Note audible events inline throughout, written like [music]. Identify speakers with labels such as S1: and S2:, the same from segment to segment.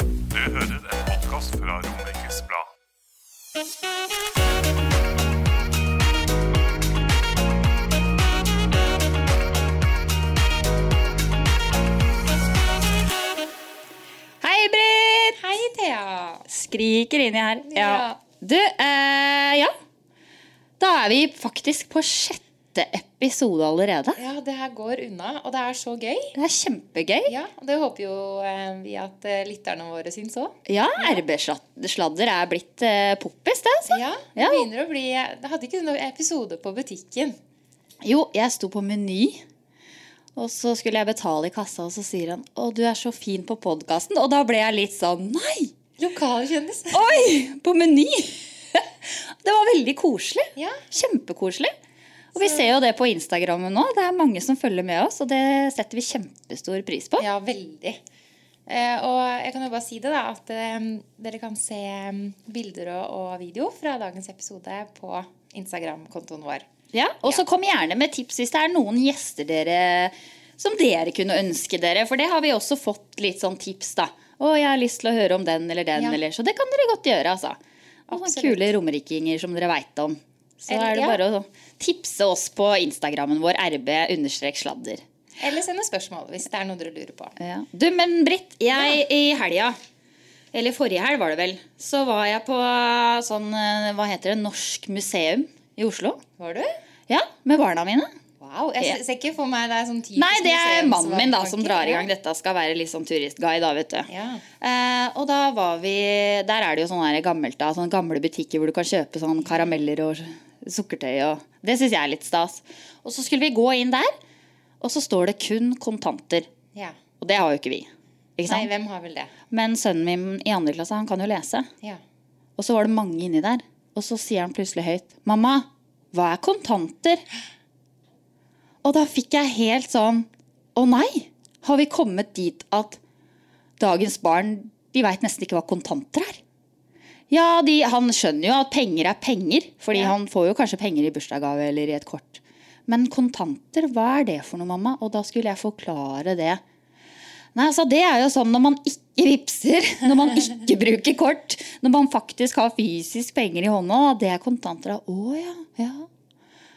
S1: Du hører en podkast fra Romerikes Blad.
S2: Hei, Britt! Hei, Thea. Skriker inni her. Ja. Du, eh, ja. Da er vi faktisk på sjette episode allerede.
S3: Ja, det her går unna, og det er så gøy.
S2: Det er kjempegøy.
S3: Ja, og Det håper jo eh, vi at eh, lytterne våre syns òg.
S2: Ja, RB-sladder er blitt eh, poppis, det, altså.
S3: Ja, det
S2: Ja.
S3: begynner å bli Jeg hadde ikke noen episode på butikken.
S2: Jo, jeg sto på Meny, og så skulle jeg betale i kassa, og så sier han 'Å, du er så fin på podkasten', og da ble jeg litt sånn Nei!
S3: Lokalkjendis.
S2: Oi! På Meny! Det var veldig koselig.
S3: Ja.
S2: Kjempekoselig. Og vi ser jo det på Instagrammen nå. Det er mange som følger med oss, og det setter vi kjempestor pris på.
S3: Ja, veldig. Eh, og jeg kan jo bare si det, da, at eh, dere kan se eh, bilder og, og video fra dagens episode på Instagram-kontoen vår.
S2: Ja, Og så kom gjerne med tips hvis det er noen gjester dere som dere kunne ønske dere. For det har vi også fått litt sånn tips, da. Å, jeg har lyst til å høre om den eller den,
S3: Ja.
S2: eller Så det kan dere godt gjøre, altså. Og sånne
S3: Absolutt.
S2: kule romerikinger som dere veit om. Så
S3: Eller-
S2: er det
S3: ja.
S2: bare å tipse oss på Instagrammen vår rb-sladder.
S3: Eller send oss spørsmål hvis det er noe dere lurer på.
S2: Ja. Du, men Britt, jeg i helga, eller forrige helg var det vel, så var jeg på sånn, eh, hva heter det, Norsk museum i Oslo.
S3: Var du?
S2: Ja, med barna mine.
S3: Wow. Jeg
S2: Ja.
S3: ser- ser ikke for meg det er sånn typisk
S2: Nei, det er
S3: museum-
S2: mannen min da som drar i gang
S3: Ja.
S2: dette, skal være litt sånn turistguide da, vet du.
S3: Ja.
S2: Eh, og da var vi, der er det jo sånne her gammelt da, sånne gamle butikker hvor du kan kjøpe sånn karameller og sukkertøy og, det synes jeg er litt stas. Og så skulle vi gå inn der, og så står det kun kontanter,
S3: Ja.
S2: og det har jo ikke vi. Ikke sant?
S3: Nei, hvem har vel det?
S2: Men sønnen min i andre klasse, han kan jo lese.
S3: Ja.
S2: Og så var det mange inni der. Og så sier han plutselig høyt Mamma, hva er kontanter? Og da fikk jeg helt sånn Å nei! Har vi kommet dit at dagens barn de veit nesten ikke hva kontanter er? Ja, de, han skjønner jo at penger er penger, fordi
S3: Ja.
S2: han får jo kanskje penger i bursdagsgave eller i et kort. Men kontanter, hva er det for noe, mamma? Og da skulle jeg forklare det. Nei, altså Det er jo sånn når man ikke vipser, [laughs] når man ikke bruker kort, når man faktisk har fysisk penger i hånda, det er kontanter. da. Å ja, ja.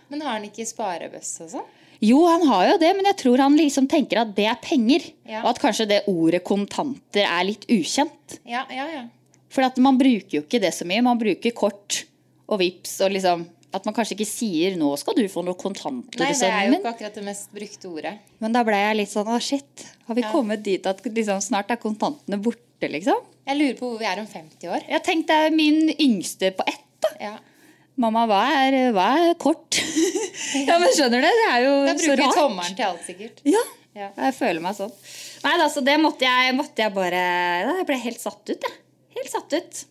S3: Men har han ikke sparebøsse og sånn?
S2: Jo, han har jo det, men jeg tror han liksom tenker at det er penger.
S3: Ja.
S2: Og at kanskje det ordet kontanter er litt ukjent.
S3: Ja, ja, ja.
S2: For at man bruker jo ikke det så mye. Man bruker kort og vips og liksom At man kanskje ikke sier 'nå skal du få noe kontanter',
S3: Nei, det er
S2: sønnen
S3: jo
S2: min.
S3: ikke akkurat det mest brukte ordet.
S2: Men da ble jeg litt sånn 'å, shit'. Har vi kommet dit at liksom, snart er kontantene borte, liksom?
S3: Jeg lurer på hvor vi er om 50 år.
S2: Jeg tenkte det er min yngste på ett. da.
S3: Ja.
S2: Mamma, hva er, hva er kort?
S3: [laughs]
S2: ja, men skjønner du? Det er jo
S3: Da
S2: så
S3: bruker vi
S2: rart.
S3: tommelen til alt, sikkert.
S2: Ja.
S3: Ja.
S2: Jeg føler meg sånn. Nei da, så det måtte jeg, måtte jeg bare da, Jeg ble helt satt ut, jeg. Helt satt ut.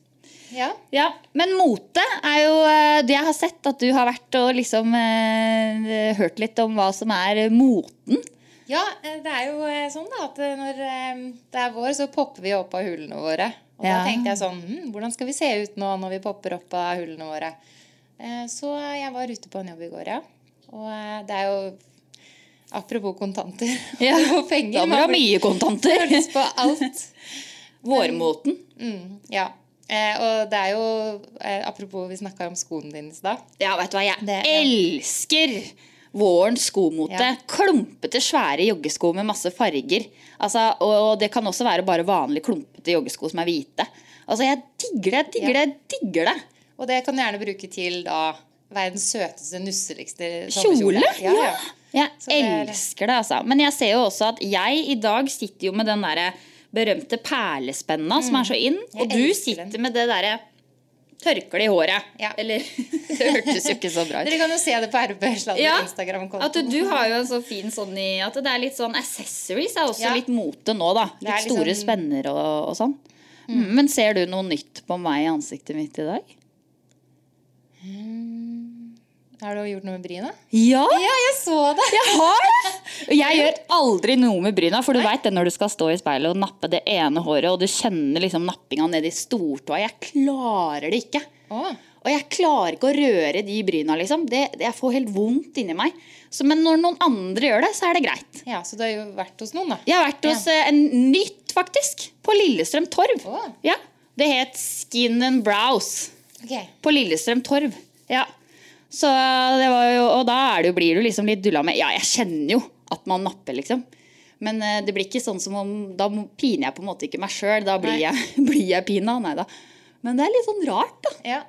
S3: Ja.
S2: Ja, Men mote er jo eh, det jeg har sett, at du har vært og liksom eh, hørt litt om hva som er eh, moten.
S3: ja, eh, det er jo eh, sånn da at eh, når eh, det er vår, så popper vi opp av hullene våre. Og da
S2: Ja.
S3: tenkte jeg sånn hm, Hvordan skal vi se ut nå når vi popper opp av hullene våre? Eh, Så jeg var ute på en jobb i går, ja. Og eh, det er jo Apropos kontanter
S2: Ja.
S3: [laughs] og penger.
S2: Da må du ha
S3: man blir-
S2: mye kontanter.
S3: [laughs] har lyst på alt.
S2: [laughs] Vårmoten.
S3: Mm, ja. Eh, og det er jo eh, Apropos, vi snakka om skoene dine i stad.
S2: Ja, vet du hva, jeg
S3: Det- ja.
S2: elsker vårens skomote.
S3: Ja.
S2: Klumpete, svære joggesko med masse farger. Altså, og, og det kan også være bare vanlige klumpete joggesko som er hvite. Altså, jeg digger det, digger det, digger det.
S3: Og det kan du gjerne bruke til da verdens søteste, nusseligste
S2: Kjole?
S3: Ja, ja.
S2: Jeg
S3: Så det er-
S2: elsker det, altså. Men jeg ser jo også at jeg i dag sitter jo med den derre berømte perlespenna som er så inn, og
S3: Mm. Jeg
S2: du
S3: elsker
S2: sitter
S3: den.
S2: med det derre Tørkle i håret.
S3: Ja.
S2: Eller [laughs] Det hørtes jo ikke så bra ut.
S3: Dere kan jo se det på RB Sladder
S2: Ja,
S3: Instagram-konto.
S2: at du, du har jo en så fin sånn i At det er litt sånn accessories er også
S3: Ja.
S2: litt mote nå, da.
S3: Det er
S2: Litt
S3: liksom-
S2: store spenner og, og sånn. Mm. Men ser du noe nytt på meg i ansiktet mitt i dag?
S3: Har du gjort noe med bryna?
S2: Ja!
S3: Ja, jeg så det!
S2: Jeg har! Og Jeg gjør aldri noe med bryna, for du veit det når du skal stå i speilet og nappe det ene håret, og du kjenner liksom nappinga nedi stortåa. Jeg klarer det ikke.
S3: Å.
S2: Og jeg klarer ikke å røre de bryna, liksom. Det, det, jeg får helt vondt inni meg. Så, men når noen andre gjør det, så er det greit.
S3: Ja, Så du har jo vært hos noen, da?
S2: Jeg har vært hos eh, en nytt, faktisk. På Lillestrøm Torv.
S3: Å.
S2: Ja. Det het Skin and Brows
S3: Ok.
S2: på Lillestrøm Torv. Ja. Så det var jo, og da er det jo, blir du liksom litt dulla med Ja, jeg kjenner jo at man napper, liksom. Men eh, det blir ikke sånn som om Da må- piner jeg på en måte ikke meg sjøl. Da blir
S3: Nei.
S2: jeg, [laughs] blir jeg pina. Nei da. Men det er litt sånn rart, da.
S3: Ja.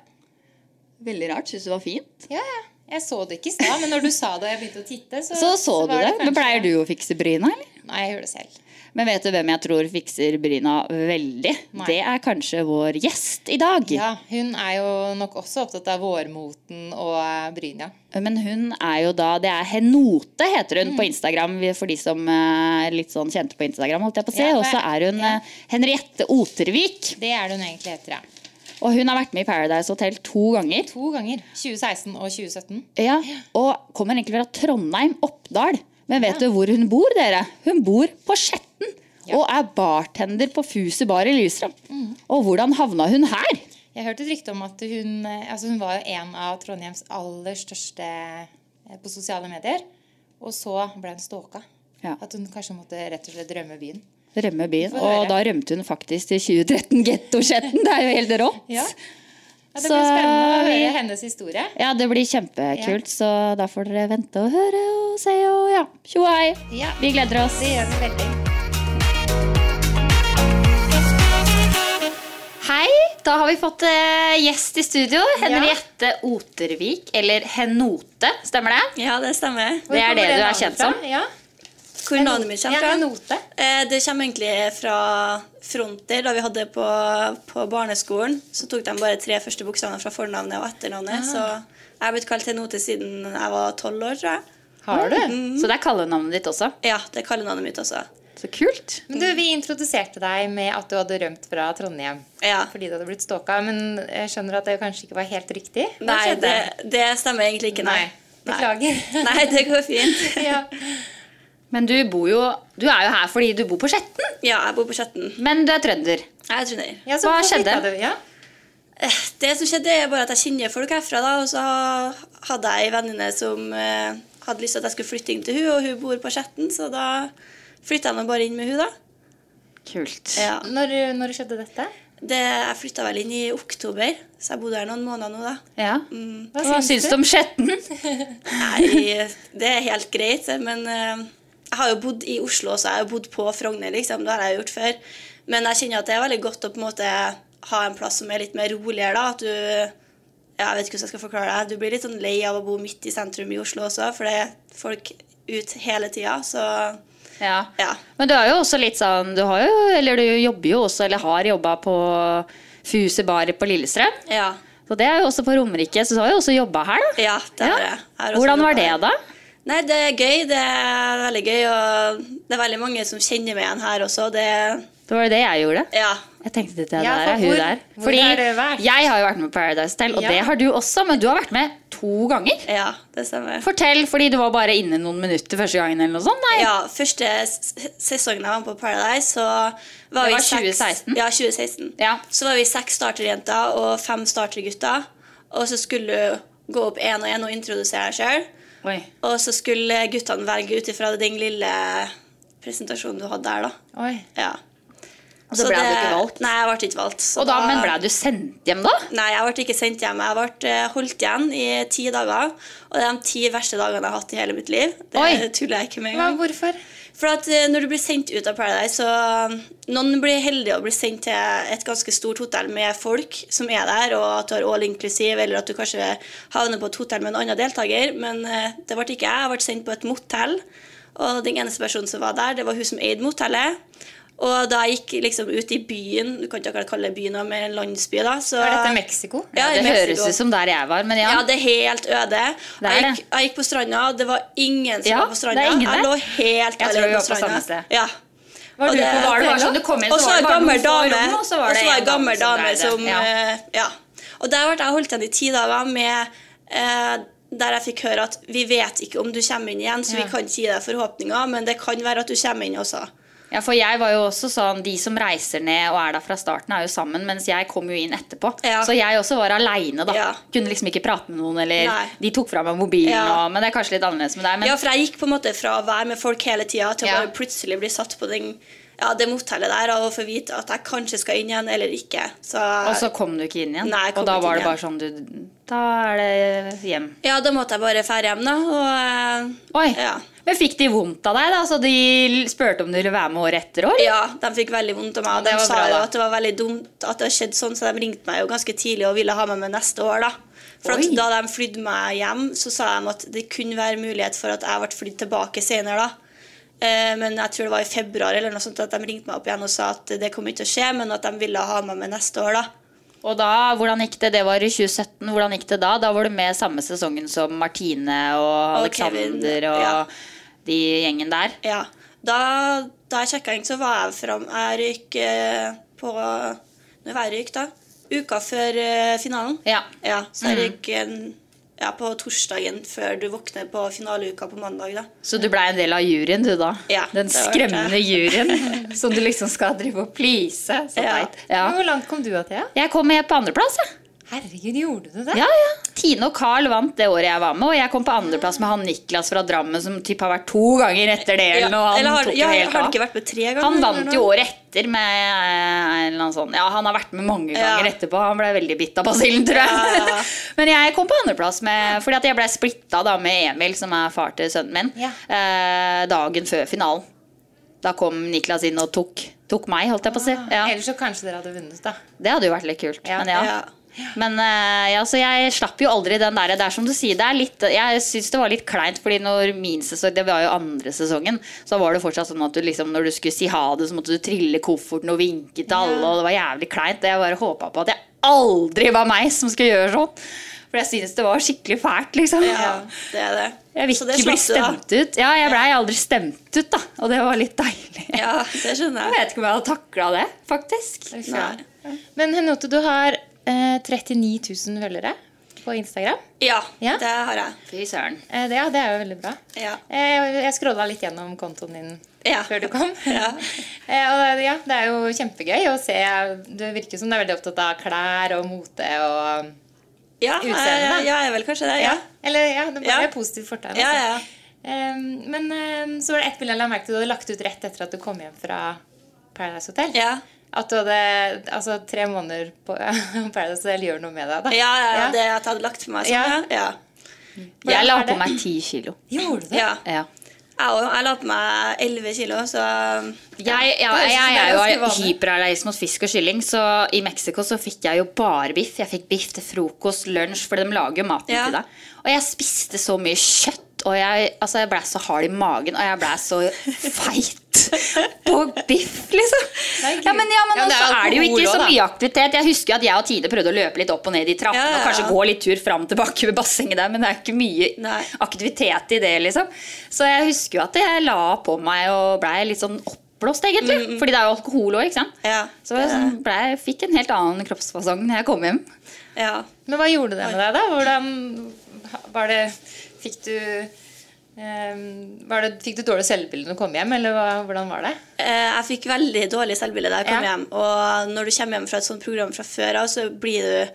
S2: Veldig rart. Syns du det var fint?
S3: ja, ja. Jeg så det ikke i stad, men når du sa det og jeg begynte å titte, så
S2: Så så du
S3: var
S2: det. Men
S3: kanskje-
S2: pleier du å fikse bryna, eller?
S3: Nei, jeg gjør det selv.
S2: Men vet du hvem jeg tror fikser bryna veldig?
S3: Nei.
S2: Det er kanskje vår gjest i dag.
S3: Ja, Hun er jo nok også opptatt av vårmoten og eh, bryna.
S2: Men hun er jo da Det er Henote, heter
S3: Mm.
S2: hun på Instagram, for de som eh, er litt sånn kjente på Instagram. holdt jeg på å si.
S3: Ja,
S2: Og så
S3: nei,
S2: er hun
S3: ja.
S2: eh, Henriette Otervik.
S3: Det er det hun egentlig heter, ja.
S2: Og hun har vært med i Paradise Hotel to ganger.
S3: To ganger. 2016 og 2017.
S2: Ja, Og kommer egentlig fra Trondheim, Oppdal. Men vet du hvor hun bor, dere? Hun bor på Skjetten. Og er bartender på Fuset bar i Lillestrøm.
S3: Mm.
S2: Og hvordan havna hun her?
S3: Jeg hørte et rykte om at hun eh, altså Hun var jo en av Trondheims aller største eh, på sosiale medier. Og så ble hun stalka.
S2: Ja.
S3: At hun kanskje måtte rett og slett rømme byen.
S2: Rømme byen.
S3: Få
S2: Og
S3: høre.
S2: da rømte hun faktisk til 2013 Getto-Skjetten. Det er jo helt rått.
S3: Ja. Ja, det
S2: Så
S3: blir spennende å høre
S2: vi-
S3: hennes historie.
S2: Ja, det blir kjempekult, så da får dere vente og høre og se og ja. Tjo og hei.
S3: Ja.
S2: Vi gleder oss.
S3: Det gjør vi veldig.
S4: Hei, da har vi fått eh, gjest i studio. Henriette Otervik, eller Henote, stemmer det?
S5: Ja, det stemmer.
S4: Det er det du er kjent som.
S3: Ja.
S5: Hvor navnet mitt kommer
S3: Ja,
S5: fra?
S3: en note.
S5: Eh, Det kommer egentlig fra Fronter. Da vi hadde på, på barneskolen, så tok de bare tre første bokstavene fra fornavnet og
S3: Ah.
S5: etternavnet. Så jeg har blitt kalt Henote siden jeg var tolv år, tror jeg.
S2: Har du?
S3: Mm.
S2: Så det er kallenavnet ditt også.
S5: Ja, det er kallenavnet mitt også.
S2: Så kult.
S3: Men du, Vi introduserte deg med at du hadde rømt fra Trondheim
S5: Ja.
S3: fordi du hadde blitt stalka. Men jeg skjønner at det kanskje ikke var helt riktig? Hva
S5: Nei,
S3: skjedde?
S5: det, det stemmer egentlig ikke, nei.
S3: Nei. Beklager.
S5: Nei, det går fint.
S3: ja.
S2: Men du bor jo Du er jo her fordi du bor på Skjetten,
S5: Ja, jeg bor på Skjetten.
S2: men du er trønder.
S5: Jeg er trønder.
S3: Ja, så
S2: Hva
S3: hvorfor
S2: skjedde?
S3: flyttet Du? Ja.
S5: Eh, Det som skjedde, er bare at jeg kjenner folk herfra. da, Og så hadde jeg ei venninne som eh, hadde lyst til at jeg skulle flytte inn til hun, og hun bor på Skjetten, så da flytta jeg nå bare inn med hun da.
S2: Kult.
S5: Ja.
S3: Når, når skjedde dette?
S5: Det, jeg flytta vel inn i oktober, så jeg bodde her noen måneder nå, da.
S2: Ja.
S5: Mm.
S2: Hva syns du om Skjetten?
S5: Nei, det er helt greit, men eh, jeg har jo bodd i Oslo også. Jeg har jo bodd på Frogner, liksom. Det har jeg jo gjort før. Men jeg kjenner at det er veldig godt å på en måte ha en plass som er litt mer roligere, da. At du ja, Jeg vet ikke hvordan jeg skal forklare det. Du blir litt sånn lei av å bo midt i sentrum i Oslo også, for det er folk ut hele tida, så
S2: Ja.
S5: ja.
S2: Men du er jo også litt sånn Du har jo, eller du jobber jo også, eller har jobba på Fuse bar på Lillestrøm.
S5: Ja.
S2: Så det er jo også på Romerike, så du har jo også jobba her, da.
S5: Ja, det har jeg. Jeg har også
S2: Hvordan var
S5: jobbet
S2: det,
S5: her.
S2: da?
S5: Nei, det er gøy. Det er veldig gøy, og det er veldig mange som kjenner meg igjen her også. Det,
S2: Det var jo det jeg gjorde.
S5: ja.
S2: Jeg tenkte at det
S3: Ja,
S2: der
S3: for
S2: er hun
S3: hvor-
S2: der.
S3: hvor
S2: Fordi
S3: har du vært?
S2: jeg har jo vært med på Paradise Hotel, og
S3: Ja.
S2: det har du også, men du har vært med to ganger.
S5: ja, det stemmer.
S2: Fortell, fordi du var bare inne noen minutter første gangen eller noe sånt. Nei.
S5: Ja, første s- sesongen jeg var med på Paradise, så var
S2: Det
S5: vi
S2: var
S5: seks-
S2: 2016?
S5: Ja, 2016.
S2: Ja.
S5: Så var vi seks starterjenter og fem startergutter. Og så skulle du gå opp én og én og introdusere deg sjøl.
S2: Oi.
S5: Og så skulle guttene velge ut ifra den lille presentasjonen du hadde der, da.
S3: Oi.
S5: Ja.
S2: Og så ble du ikke valgt.
S5: Nei, jeg ble ikke valgt. så
S2: Og da, men ble du sendt hjem da?
S5: Nei, jeg ble ikke sendt hjem. Jeg ble eh, holdt igjen i ti dager. Og det er de ti verste dagene jeg har hatt i hele mitt liv. Det
S2: Oi.
S5: tuller jeg ikke med
S3: Hva,
S5: engang.
S3: hvorfor?
S5: For at eh, når du blir sendt ut av Paradise, så eh, noen blir heldige og blir sendt til et ganske stort hotell med folk som er der, og at du har all inclusive, eller at du kanskje havner på et hotell med en annen deltaker. Men eh, det ble ikke jeg. Jeg ble sendt på et motell. Og den eneste personen som var der, det var hun som eide motellet. Og da jeg gikk liksom ut i byen, du kan ikke akkurat kalle det byen, da, men landsby, da så
S3: Er dette Mexico?
S5: Ja, i
S2: Det høres
S5: Mexico.
S2: ut som der jeg var, men ja.
S5: Ja, det er helt øde.
S2: Det er
S5: jeg,
S2: det.
S5: gikk, jeg gikk på stranda, og det var ingen som
S2: Ja,
S5: var på stranda.
S2: det er ingen der.
S5: jeg lå helt
S2: tror vi
S5: alene
S2: var
S5: på
S2: på
S5: stranda.
S2: samme sted.
S5: Ja.
S2: Var
S5: Og
S2: du
S5: det-
S2: på var det bare sånn du kom inn,
S5: Og så
S2: så var
S5: en
S2: det bare
S5: gammel
S2: noen få
S5: dame.
S2: rom, og så var det
S5: en
S2: en
S5: gammel
S2: dame som
S5: dame
S2: dreide.
S5: som
S2: Ja.
S5: eh, ja. Og der ble jeg holdt igjen i ti dager med eh, der jeg fikk høre at vi vet ikke om du kommer inn igjen, så vi kan ikke gi deg forhåpninger, men det kan være at du kommer inn også.
S2: ja, for jeg var jo også sånn De som reiser ned og er der fra starten, er jo sammen, mens jeg kom jo inn etterpå.
S5: Ja.
S2: Så jeg også var aleine, da.
S5: Ja.
S2: Kunne liksom ikke prate med noen, eller
S5: Nei.
S2: De tok fra meg mobilen
S5: Ja.
S2: og Men det er kanskje litt annerledes med deg, men
S5: Ja, for jeg gikk på en måte fra å være med folk hele tida til å
S2: Ja.
S5: bare plutselig bli satt på den, ja, det motellet der og få vite at jeg kanskje skal inn igjen eller ikke. Så,
S2: Og så kom du ikke inn igjen.
S5: Nei, jeg kom
S2: og da
S5: ikke
S2: var
S5: inn
S2: det bare sånn du Da er det hjem.
S5: ja, da måtte jeg bare dra hjem, da. Og, eh,
S2: Oi.
S5: Ja.
S2: Men fikk de vondt av deg, da? Så de l- spurte om du ville være med året etter òg?
S5: ja, de fikk veldig vondt av meg. Og
S2: det
S5: de
S2: var
S5: sa
S2: bra,
S5: jo
S2: da.
S5: at det var veldig dumt at det skjedde sånn, så de ringte meg jo ganske tidlig og ville ha meg med neste år, da. For at
S2: Oi.
S5: da de flydde meg hjem, så sa de at det kunne være mulighet for at jeg ble flydd tilbake senere, da. Eh, Men jeg tror det var i februar eller noe sånt at de ringte meg opp igjen og sa at det kom ikke til å skje, men at de ville ha meg med neste år, da.
S2: Og da, hvordan gikk det? Det var i 2017. Hvordan gikk det da? Da var du med samme sesongen som Martine og
S5: Og Kevin,
S2: Alexander og
S5: ja.
S2: de gjengen der.
S5: Ja. Da, da jeg sjekka inn, så var jeg fram Jeg røyk eh, på Når var jeg røyk, da? Uka før eh, finalen.
S2: Ja. Mhm.
S5: så jeg røyk en, ja, på torsdagen før du våkner på finaleuka på mandag, da.
S2: Så du blei en del av juryen, du da?
S5: Ja,
S2: Den
S5: det var
S2: skremmende
S5: det.
S2: juryen [laughs] som du liksom skal drive og please. Så
S5: Ja.
S2: teit. Ja.
S3: Hvor langt kom du, Athea?
S2: Jeg kom med på andreplass, jeg.
S3: Herregud, gjorde du det?
S2: Ja, ja. Tine og Carl vant det året jeg var med, og jeg kom på andreplass med han Niklas fra Drammen som typ har vært to ganger etter det. Eller noe. Han
S5: Eller har,
S2: tok jo
S5: ja,
S2: helt
S5: har du
S2: av.
S5: ikke vært med tre ganger?
S2: Han
S5: eller
S2: vant
S5: noe?
S2: jo året etter med eh, en eller annen sånn Ja, han har vært med mange ganger
S5: Ja.
S2: etterpå. Han ble veldig bitt av basillen, tror jeg.
S5: Ja, ja.
S2: [laughs] Men jeg kom på andreplass med fordi at jeg ble splitta da med Emil, som er far til sønnen min,
S3: Ja.
S2: eh, dagen før finalen. Da kom Niklas inn og tok, tok meg, holdt jeg på å si.
S5: Ah,
S2: Ja.
S3: Ah, Ellers så kanskje dere hadde vunnet, da.
S2: Det hadde jo vært litt kult. men ja.
S5: ja.
S2: Men eh, ja, så jeg slapp jo aldri den der Det er som du sier, det er litt Jeg syns det var litt kleint, fordi når min sesong Det var jo andre sesongen, så var det fortsatt sånn at du liksom når du skulle si ha det, så måtte du trille kofferten og vinke til alle, og det var jævlig kleint. Jeg bare håpa på at jeg aldri var meg som skulle gjøre sånn. For jeg syns det var skikkelig fælt, liksom.
S5: ja, det er det.
S2: Jeg vil
S5: Så det
S2: ikke bli
S5: slapp du, da.
S2: stemt ut. Ja, jeg blei aldri stemt ut, da. Og det var litt deilig.
S5: Ja, det
S2: [laughs] Jeg
S5: skjønner jeg.
S2: vet ikke om jeg hadde takla det, faktisk.
S5: Nei.
S3: Men Henote, du har eh, 39 000 følgere på Instagram.
S5: Ja,
S3: Ja.
S5: det har jeg.
S2: Fy søren.
S3: Eh, det, ja, det er jo veldig bra.
S5: Ja.
S3: Eh, jeg scrolla litt gjennom kontoen din
S5: Ja.
S3: før du
S2: [laughs]
S3: kom.
S5: Ja.
S3: [laughs] eh, og det, ja, det er jo kjempegøy å se. Du virker som du er veldig opptatt av klær og mote og
S5: Ja,
S3: Utseende,
S5: jeg,
S3: da.
S5: ja, jeg er vel kanskje det.
S3: Ja.
S5: Ja.
S3: Eller ja, det bare
S5: Ja.
S3: er positivt fortegn.
S5: Ja,
S3: altså.
S5: ja.
S3: Ehm, men ehm, så var det ett bilde jeg la merke til du hadde lagt ut rett etter at du kom hjem fra Paradise Hotel.
S5: Ja.
S3: At du hadde altså, tre måneder på [laughs] Paradise Hotel gjør noe med deg. da.
S5: Ja, ja, ja,
S3: Ja.
S5: det at jeg hadde lagt for meg
S3: Ja.
S5: sånn, ja. ja.
S2: Jeg la
S3: er
S2: på
S3: det?
S2: meg ti kilo.
S3: Gjorde du det?
S5: Ja.
S2: Ja.
S5: Jeg, også, jeg la på meg 11 kilo, så
S2: Jeg, ja,
S3: Det
S2: jeg,
S3: høres ut som det er
S2: er jo
S3: ganske vanlig.
S2: hyperallergisk mot fisk og kylling, så i Mexico så fikk jeg jo bare biff. Jeg fikk biff til frokost, lunsj, for de lager jo maten
S5: Ja.
S2: til deg. Og jeg spiste så mye kjøtt, og jeg, altså, jeg blei så hard i magen, og jeg blei så feit på biff, liksom.
S3: Nei, Gud.
S2: Ja, men, ja, men
S3: Ja, men
S2: også er
S3: det er
S2: det jo
S3: alkohol
S2: ikke så
S3: også, da.
S2: mye aktivitet. Jeg husker jo at jeg og Tide prøvde å løpe litt opp og ned i trappene,
S5: Ja, ja,
S2: og kanskje
S5: ja.
S2: gå litt tur fram og tilbake ved bassenget der, men det er ikke mye
S5: Nei.
S2: aktivitet i det, liksom. Så jeg husker jo at jeg la på meg og blei litt sånn oppblåst, egentlig. Fordi det er jo alkohol òg, ikke sant.
S5: Ja,
S2: så jeg sånn, ble, fikk en helt annen kroppsfasong når jeg kom hjem.
S5: ja.
S3: Men hva gjorde det med deg, da? Hvordan var det Fikk du ehm, var det, Fikk du dårlig selvbilde når du kom hjem, eller hva, hvordan var det?
S5: Eh, Jeg fikk veldig dårlig selvbilde da jeg kom
S3: Ja.
S5: hjem. Og når du kommer hjem fra et sånt program fra før av, så blir du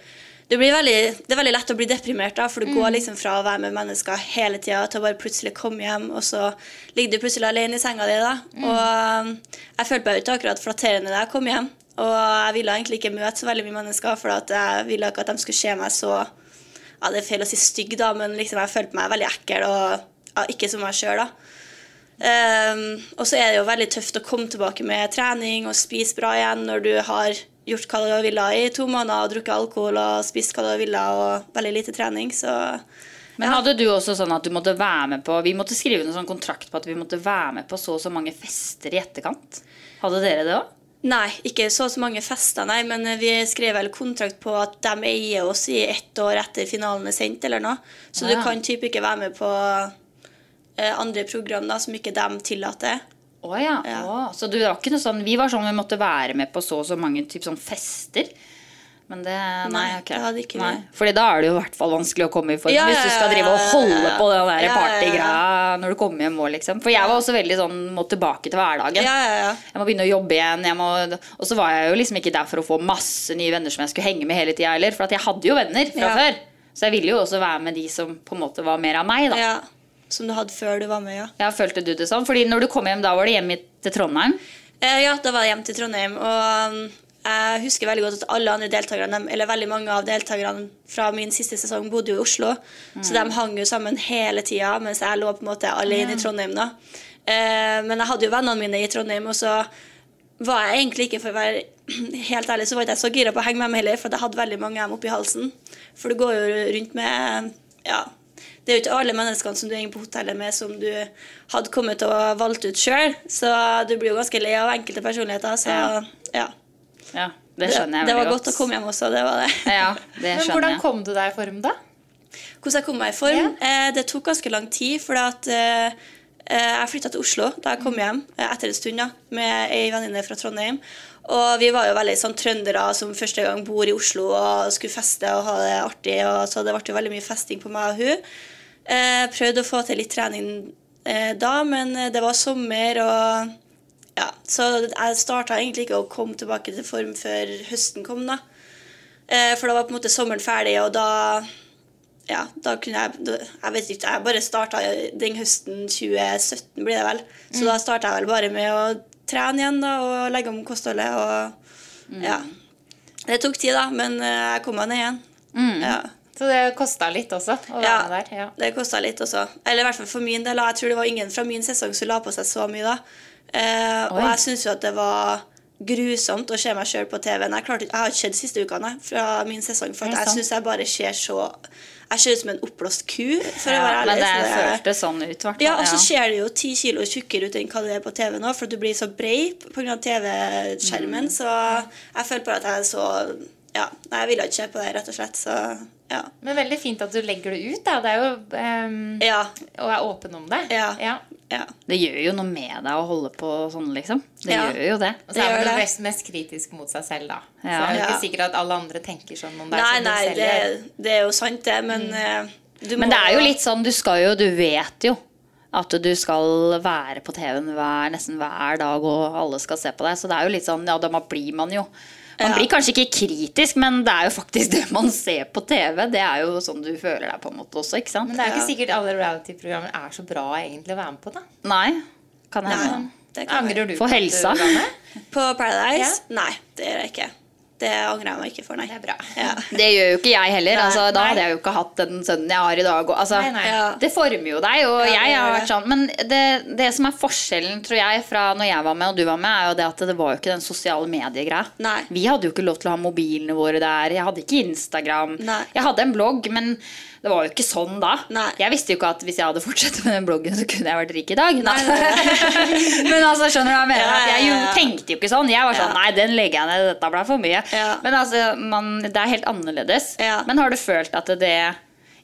S5: det, blir veldig, det er veldig lett å bli deprimert, da, for du går liksom fra å være med mennesker hele tida til å bare plutselig komme hjem, og så ligger du plutselig alene i senga di. da. Og um, jeg følte meg jo ikke akkurat flatterende da jeg kom hjem. Og jeg ville egentlig ikke møte så veldig mye mennesker, for at jeg ville ikke at de skulle se meg så ja, Det er feil å si stygg, da, men liksom, jeg følte meg veldig ekkel og ja, ikke som meg sjøl. Um, og så er det jo veldig tøft å komme tilbake med trening og spise bra igjen når du har gjort hva du ville i to måneder og drukket alkohol og spist hva du ville og veldig lite trening. Så
S2: Men hadde du også sånn at du måtte være med på Vi måtte skrive en sånn kontrakt på at vi måtte være med på så og så mange fester i etterkant. Hadde dere det òg?
S5: Nei, ikke så så mange fester, nei, men vi skrev vel kontrakt på at de eier oss i ett år etter finalen er sendt, eller noe. Så du kan typ ikke være med på eh, andre program da, som ikke dem tillater.
S2: Å ja.
S5: Ja.
S2: Å, Så du det var ikke noe sånn Vi var sånn vi måtte være med på så og så mange typ sånn fester. Men det Nei,
S5: Nei,
S2: ok.
S5: det hadde ikke vi.
S2: nei. Fordi da er det jo i hvert fall vanskelig å komme i form
S5: Ja, ja,
S2: hvis du skal
S5: ja,
S2: drive og
S5: ja,
S2: holde
S5: ja, ja.
S2: på den der
S5: Ja, ja, ja.
S2: partygreia når du kommer hjem òg, liksom. For jeg var også veldig sånn må tilbake til hverdagen.
S5: Ja, ja, ja.
S2: Jeg må begynne å jobbe igjen. Jeg må, og så var jeg jo liksom ikke der for å få masse nye venner som jeg skulle henge med hele tida heller. For at jeg hadde jo venner fra
S5: Ja.
S2: før. Så jeg ville jo også være med de som på en måte var mer av meg, da.
S5: ja. Som du hadde før du var med, ja.
S2: Ja, følte du det sånn? Fordi når du kom hjem, da var det hjemme til Trondheim.
S5: Eh, Ja, da var jeg hjemme til Trondheim, og um, jeg husker veldig godt at alle andre deltakerne, dem- eller veldig mange av deltakerne fra min siste sesong bodde jo i Oslo, så de hang jo sammen hele tida, mens jeg lå på en måte alene i Trondheim da. Eh, Men jeg hadde jo vennene mine i Trondheim, og så var jeg egentlig ikke, for å være [clears throat] helt ærlig, så var ikke jeg så gira på å henge med dem heller, for jeg hadde veldig mange av dem oppi halsen. For du går jo rundt med Ja. Det er jo ikke alle menneskene som du henger på hotellet med, som du hadde kommet og valgt ut sjøl. Så du blir jo ganske lei av enkelte personligheter. Så ja.
S2: Ja, det skjønner jeg veldig
S5: det var godt å komme hjem også. Det var det.
S2: Ja,
S5: [laughs]
S2: det
S3: Men
S2: skjønner
S3: hvordan
S2: jeg.
S3: kom du deg i form, da?
S5: Hvordan jeg kom meg i form? Eh, det tok ganske lang tid, for at, eh, eh, jeg flytta til Oslo da jeg kom hjem eh, etter en stund da, med ei venninne fra Trondheim. Og vi var jo veldig sånn trøndere som første gang bor i Oslo og skulle feste og ha det artig. Og, så det ble jo veldig mye festing på meg og hun. Eh, prøvde å få til litt trening eh, da, men eh, det var sommer og ja, Så jeg starta egentlig ikke å komme tilbake til form før høsten kom, da. Eh, for da var på en måte sommeren ferdig, og da ja, da kunne jeg da- Jeg vet ikke, jeg bare starta den høsten 2017, blir det vel. Så da starta jeg vel bare med å trene igjen da, og legge om kostholdet. Og ja. Det tok tid, da, men eh, jeg kom meg ned igjen. Ja.
S3: Så det kosta litt også å være
S5: Ja,
S3: med der. Ja.
S5: Det kosta litt også. Eller i hvert fall for min del. da. Jeg tror det var ingen fra min sesong som la på seg så mye da. Eh, og
S2: Oi.
S5: jeg syns jo at det var grusomt å se meg sjøl på TV-en. Jeg, klarte ikke- jeg har ikke sett de siste ukene jeg, fra min sesong. For
S2: Er
S5: at
S2: det
S5: jeg
S2: sant?
S5: syns jeg bare ser så Jeg ser ut som en oppblåst ku, for å
S2: Ja,
S5: være ærlig.
S2: men det
S5: så
S2: føltes sånn ut, hvertfall.
S5: ja, og så ser du jo ti kilo tjukkere ut enn hva det er på TV nå, for du blir så brei pga.
S2: Mm.
S5: TV-skjermen. Så jeg føler bare at jeg er så Ja, nei, jeg ville ikke se på det, rett og slett. Så ja.
S3: Men veldig fint at du legger det ut, da. Det er jo
S2: Mm.
S3: ehm,
S5: Ja.
S3: Og er åpen om det.
S5: Ja. ja.
S2: Det gjør jo noe med deg å holde på sånn, liksom. Det
S5: Ja.
S2: gjør jo det.
S3: Og så er
S5: Det
S3: man
S5: gjør
S3: jo
S5: det.
S3: mest, mest kritisk mot seg selv, da. Så
S2: Ja.
S3: det er jo ikke
S5: Ja.
S3: sikkert at alle andre tenker sånn om deg.
S5: Nei,
S3: som du
S5: nei,
S3: selv
S5: det,
S3: gjør.
S5: det er jo sant, det, men eh, du
S2: Mm. Men
S5: må
S2: det er jo litt sånn, du skal jo Du vet jo at du skal være på TV-en hver, nesten hver dag, og alle skal se på deg. Så det er jo litt sånn, ja, da blir man jo Man
S5: Ja.
S2: blir kanskje ikke kritisk, men det er jo faktisk [laughs] det man ser på TV. Det er jo sånn du føler deg på en måte også, ikke sant?
S3: Men det er jo ikke sikkert alle reality-programmer er så bra egentlig å være med på, da.
S2: Nei. Kan
S5: Nei,
S2: hende.
S5: det kan jeg.
S3: Angrer du
S2: For
S3: på at du
S2: helsa.
S3: var med?
S5: På Paradise? Nei, det gjør jeg ikke. Det angrer jeg meg ikke for, nei.
S3: Det er bra.
S5: Ja.
S2: [laughs] Det gjør jo ikke jeg heller.
S3: Nei,
S2: altså, da
S3: nei.
S2: hadde jeg jo ikke hatt den sønnen jeg har i dag. Og, altså,
S3: Nei, nei.
S5: Ja.
S2: Det former jo deg, og
S5: Ja, det
S2: jeg har
S5: gjør
S2: vært sånn. Men det, det som er forskjellen tror jeg, fra når jeg var med og du var med, er jo det at det var jo ikke den sosiale mediegreia.
S5: Nei.
S2: Vi hadde jo ikke lov til å ha mobilene våre der. Jeg hadde ikke Instagram.
S5: Nei.
S2: Jeg hadde en blogg, men det var jo ikke sånn da.
S5: Nei.
S2: Jeg visste jo ikke at hvis jeg hadde fortsatt med den bloggen, så kunne jeg vært rik i dag. Nei.
S5: Nei, nei,
S2: [laughs] men altså, skjønner du hva jeg mener?
S5: Ja,
S2: At jeg jo
S5: ja, ja.
S2: tenkte jo ikke sånn. Jeg var sånn,
S5: Ja.
S2: nei, den legger jeg ned, dette ble for mye.
S5: Ja.
S2: Men altså, man, det er helt annerledes.
S5: Ja.
S2: Men har du følt at det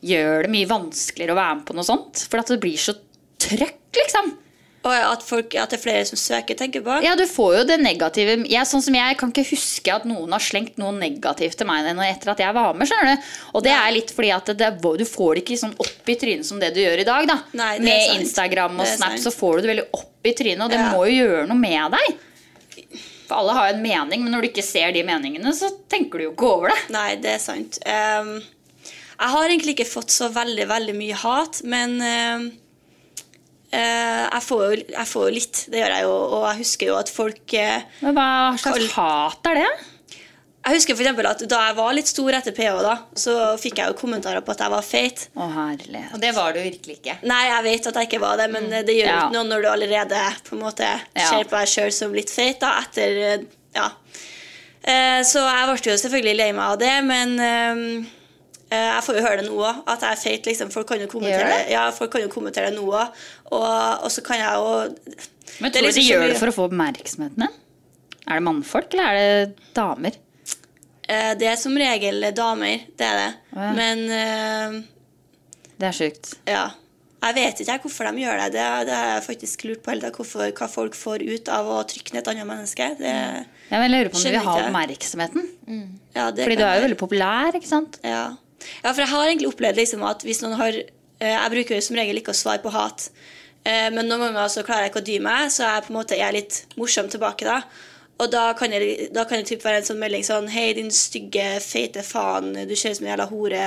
S2: gjør det mye vanskeligere å være med på noe sånt? For at det blir så trøkk, liksom.
S5: Og ja, at, folk, at det er flere som søker, tenker på.
S2: Ja, du får jo det negative. Jeg, sånn som jeg kan ikke huske at noen har slengt noe negativt til meg nå etter at jeg var med. skjønner du? Og det er litt fordi at det, du får det ikke sånn opp i trynet som det du gjør i dag. da.
S5: Nei, det er
S2: med
S5: sant.
S2: Instagram og
S5: Det er
S2: Snap
S5: sant.
S2: så får du det veldig opp i trynet, og det
S5: Ja.
S2: må jo gjøre noe med deg. For alle har jo en mening, men når du ikke ser de meningene, så tenker du jo ikke over det.
S5: Nei, det er sant. Ehm, jeg har egentlig ikke fått så veldig, veldig mye hat, men ehm, eh, jeg, får jo, jeg får jo litt. Det gjør jeg jo, og jeg husker jo at folk eh,
S2: Men hva slags
S5: Kall-
S2: hat er det?
S5: Jeg husker for eksempel at da jeg var litt stor etter PH, da, så fikk jeg jo kommentarer på at jeg var feit.
S2: Å, herlighet.
S3: Og det var du virkelig ikke.
S5: Nei, jeg vet at jeg ikke var det, men eh, det gjør
S2: Mm.
S5: jo
S2: Ja.
S5: ikke noe når du allerede på en måte
S2: Ja.
S5: ser på deg sjøl som litt feit da, etter eh, Ja. Eh, Så jeg ble jo selvfølgelig lei meg av det, men ehm, eh, jeg får jo høre det nå òg, at jeg er feit. Liksom. Folk kan jo kommentere
S2: Gjør
S5: det, ja, folk kan jo kommentere det nå òg. Og, og så kan jeg jo
S2: Men tror
S5: det er
S2: du
S5: liksom
S2: de
S5: så
S2: gjør det
S5: mye-
S2: for å få oppmerksomheten din? Er det mannfolk, eller er det damer?
S5: Eh, Det er som regel damer, det er det. Men eh,
S2: Det er sjukt.
S5: ja. Jeg vet ikke jeg hvorfor de gjør det. Det, det har jeg faktisk lurt på hele tiden, hvorfor, hva folk får ut av å trykke ned et annet menneske. Det,
S2: Ja, men Jeg lurer på om du vil
S5: Skjønner
S2: ha
S5: ikke.
S2: oppmerksomheten.
S5: ja, det
S2: Fordi
S5: kan
S2: du er jo
S5: være.
S2: veldig populær, ikke sant?
S5: Ja. ja, for jeg har egentlig opplevd liksom at hvis noen har eh, Jeg bruker jo som regel ikke å svare på hat, eh, men noen ganger så klarer jeg ikke å dy meg, så jeg på en måte er litt morsom tilbake da. Og da kan, jeg, da kan det typ være en sånn melding sånn Hei, din stygge, feite faen, du ser ut som en jævla hore,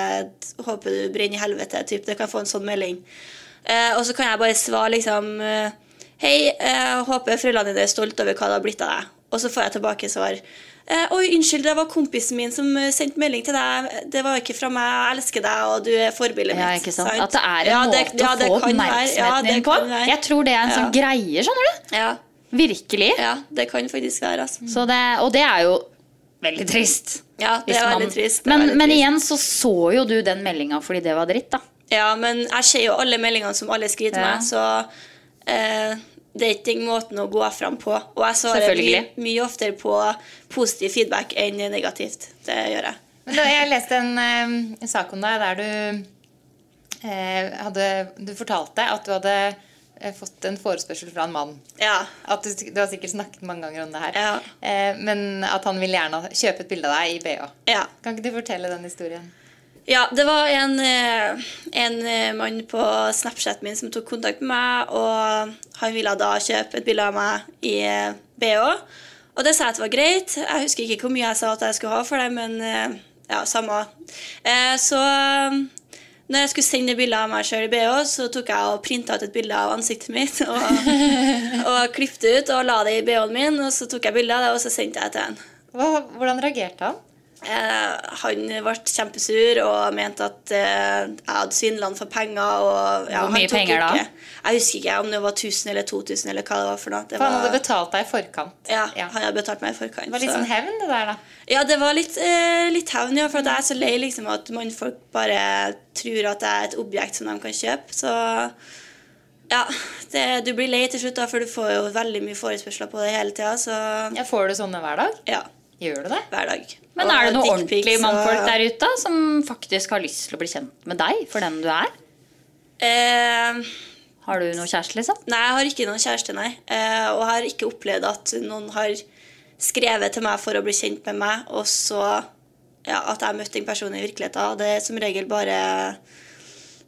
S5: håper du brenner i helvete. Typ. Det kan få en sånn melding. Eh, og så kan jeg bare svare liksom eh, Hei, eh, håper foreldrene dine er stolt over hva det har blitt av deg. Og så får jeg tilbake svar. Eh, Oi, unnskyld, det var kompisen min som eh, sendte melding til deg. Det var ikke fra meg. Jeg elsker deg, og du er forbildet mitt.
S2: Ja, ikke sant?
S5: sant?
S2: At det er en
S5: Ja, det-
S2: måte
S5: ja, det
S2: å få
S5: kan være. Ja,
S2: oppmerksomheten
S5: det
S2: din på.
S5: kan være.
S2: Jeg tror det er en
S5: Ja.
S2: sånn greie, skjønner du.
S5: Ja,
S2: Virkelig.
S5: ja, det kan faktisk være. Altså.
S2: Så det, og det er jo veldig trist.
S5: Ja, det
S2: Hvis
S5: er
S2: man-
S5: veldig trist. Det er
S2: Men,
S5: veldig
S2: men
S5: trist.
S2: igjen så så jo du den meldinga fordi det var dritt, da.
S5: Ja, men jeg ser jo alle meldingene som alle skriver til
S2: Ja.
S5: meg, så eh, det er ikke den måten å gå fram på. Og jeg svarer mye,
S2: Selvfølgelig.
S5: mye oftere på positiv feedback enn negativt. Det gjør jeg.
S3: Men da, jeg leste en eh, sak om deg der du eh, hadde Du fortalte at du hadde eh, fått en forespørsel fra en mann.
S5: Ja.
S3: At du, du har sikkert snakket mange ganger om det her.
S5: Ja.
S3: Eh, men at han vil gjerne kjøpe et bilde av deg i BH.
S5: ja.
S3: Kan ikke du fortelle den historien?
S5: Ja, det var en, eh, en eh, mann på Snapchat min som tok kontakt med meg, og han ville da kjøpe et bilde av meg i eh, BH. Og det sa jeg at var greit. Jeg husker ikke hvor mye jeg sa at jeg skulle ha for det, men eh, ja, samme. Eh, Så eh, når jeg skulle sende bilde av meg sjøl i BH, så tok jeg og printa ut et bilde av ansiktet mitt og, og klippte ut og la det i BH-en min, og så tok jeg bilde av det, og så sendte jeg det til han.
S3: Hva, hvordan reagerte han?
S5: Eh, han ble kjempesur og mente at eh, jeg hadde svindla han for penger. Og, ja,
S2: Hvor
S5: han
S2: mye
S5: tok
S2: penger da?
S5: ikke- Jeg husker ikke om det var 1000 eller 2000 eller hva det var. for noe. Det
S3: For han
S5: var,
S3: hadde betalt deg i forkant.
S5: ja,
S3: Ja.
S5: han hadde betalt meg i forkant.
S3: Det var litt
S5: så-
S3: sånn hevn, det der, da.
S5: ja, det var litt, eh, litt hevn, ja. For at jeg er så lei liksom, at mannfolk bare tror at jeg er et objekt som de kan kjøpe. Så ja, det, du blir lei til slutt, da, for du får jo veldig mye forespørsler på det hele tida. Så
S3: Ja, får du sånne hver dag?
S5: ja,
S3: Gjør du det?
S5: hver dag.
S2: Men er det
S5: Og
S2: noen
S5: dick pics
S2: ordentlige mannfolk
S5: og-
S2: der ute da, som faktisk har lyst til å bli kjent med deg for den du er?
S5: Eh,
S2: Har du noe kjæreste, liksom?
S5: Nei, jeg har ikke noen kjæreste, nei. Eh, og jeg har ikke opplevd at noen har skrevet til meg for å bli kjent med meg, og så ja, at jeg har møtt den personen i virkeligheten. Det er som regel bare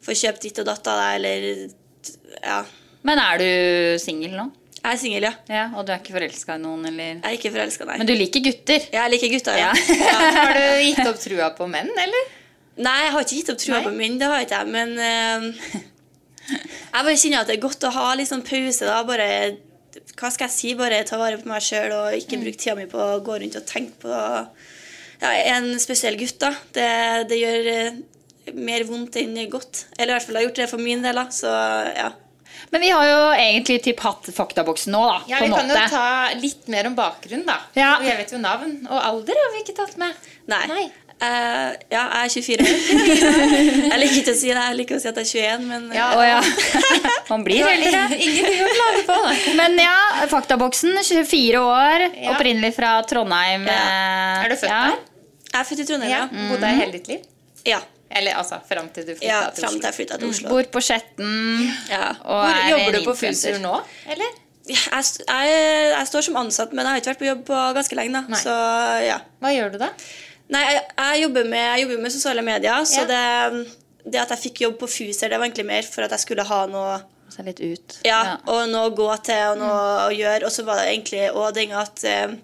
S5: få kjøpt ditt og datt av deg, eller Ja.
S2: Men er du singel nå?
S5: Jeg er singel, ja.
S2: Ja, Og du er ikke forelska i noen, eller
S5: Jeg er ikke forelska, nei.
S2: Men du liker gutter?
S5: Jeg liker gutter, ja.
S3: Har du gitt [laughs] opp trua på menn, eller?
S5: Nei, jeg har ikke gitt opp trua på min, det har jeg ikke jeg, men eh, [laughs] jeg bare kjenner at det er godt å ha litt sånn pause, da. Bare Hva skal jeg si? Bare ta vare på meg sjøl og
S3: Mm.
S5: ikke bruke tida mi på å gå rundt og tenke på ja, en spesiell gutt, da. Det, det gjør eh, mer vondt enn godt. Eller i hvert fall har gjort det for min del, da. Så ja.
S2: [laughs] Men vi har jo egentlig typ hatt faktaboksen nå, da.
S3: Ja,
S2: på
S3: Vi
S2: en
S3: kan jo
S2: måte.
S3: ta litt mer om bakgrunn, da.
S2: Ja.
S3: Og Jeg vet jo navn. Og alder har vi ikke tatt med.
S5: Nei. Eh, ja, jeg er 24 år. [laughs] jeg liker ikke å si det, jeg liker å si at jeg er 21, men eh,
S3: Ja.
S2: Å
S3: [laughs]
S2: ja. Man blir eldre.
S3: Ingenting å klage på. [laughs] da.
S2: Men ja, faktaboksen. 24 år.
S3: Ja.
S2: Opprinnelig fra Trondheim. eh,
S3: Er du født
S2: ja.
S3: der?
S5: jeg er født i Trondheim,
S3: Ja. Mm.
S5: ja.
S3: Bodde der hele ditt liv?
S5: Ja,
S3: Eller altså fram til du flytta
S5: ja
S3: til Oslo.
S5: fram til
S3: Mm.
S5: jeg flytta til Oslo.
S2: Bor på Skjetten.
S5: Ja.
S2: og
S3: Hvor
S2: er en
S3: Jobber du på
S2: influencer.
S3: Fusur nå, eller?
S5: jeg, st- jeg, jeg står som ansatt, men jeg har ikke vært på jobb på ganske lenge. Da.
S3: Nei.
S5: Så, ja.
S3: Hva gjør du da?
S5: Nei, jeg, jeg, jobber med, jeg jobber med sosiale medier, så
S3: Ja.
S5: det, det at jeg fikk jobb på Fuser, det var egentlig mer for at jeg skulle ha noe,
S2: Se litt ut.
S5: ja,
S2: Ja.
S5: Og noe å gå til og noe
S3: Mm.
S5: å gjøre. Og så var det egentlig også den at eh,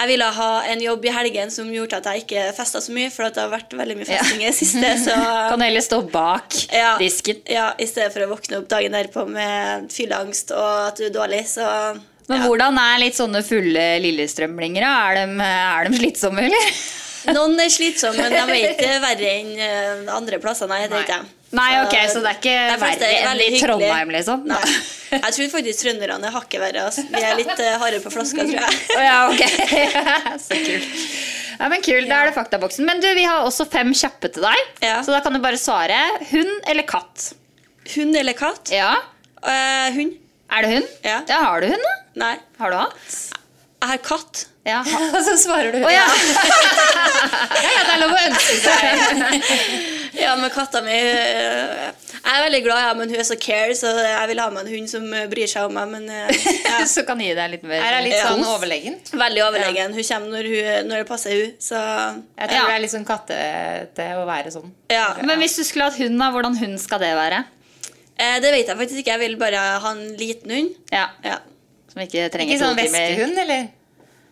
S5: jeg ville ha en jobb i helgen som gjorde at jeg ikke festa så mye, for at det har vært veldig mye festing i det siste.
S3: [laughs]
S5: Så
S2: Kan du heller stå bak
S5: ja,
S2: disken.
S5: ja, i stedet for å våkne opp dagen derpå med fylleangst og at du er dårlig, så
S2: Men
S5: ja.
S2: hvordan er litt sånne fulle lillestrømlinger? da? Er de, er de slitsomme, eller?
S5: Noen er slitsomme, men de er [laughs] ikke verre enn eh, andre plasser. Nei, det er ikke jeg.
S2: Nei, ok, så det er ikke
S5: De fleste
S2: verre
S5: er
S2: enn i
S5: veldig hyggelige.
S2: Trondheim, liksom?
S5: Nei. Jeg tror faktisk trønderne er hakket verre. Altså. Vi er litt uh, harde på flaska, tror
S2: Å [laughs]
S5: jeg.
S2: ja, ok. Så kult. Ja, men kul, Da er det faktaboksen. Men du, vi har også fem kjappe til deg.
S5: Ja.
S2: Så da kan du bare svare hund eller katt.
S5: Hund eller katt?
S2: Ja.
S5: Eh, hund.
S2: Er det hund?
S5: Ja.
S2: Har du hund, da?
S5: Nei.
S2: Har du hatt?
S5: Jeg har katt.
S2: Ja.
S3: Og så svarer du
S2: Å, ja.
S3: Ja, det er lov å ønske seg.
S5: Ja, men katta mi øh, Jeg er veldig glad, ja, men hun er så care, så jeg vil ha med en hund som øh, bryr seg om meg. Men øh, ja,
S2: [laughs] Så kan gi deg litt mer
S3: Her er litt sånn
S2: kos.
S3: overlegen.
S5: veldig overlegen. Hun kommer når, hun, når det passer hun, så
S3: Jeg tror det er litt sånn kattete å være sånn.
S5: ja.
S2: Men hvis du skulle hatt hund, da, hvordan hund skal det være?
S5: Eh, Det vet jeg faktisk ikke. Jeg vil bare ha en liten hund.
S2: Ja,
S5: Ja.
S2: Som ikke trenger
S3: Ikke sånn
S2: to timer.
S3: veskehund, eller?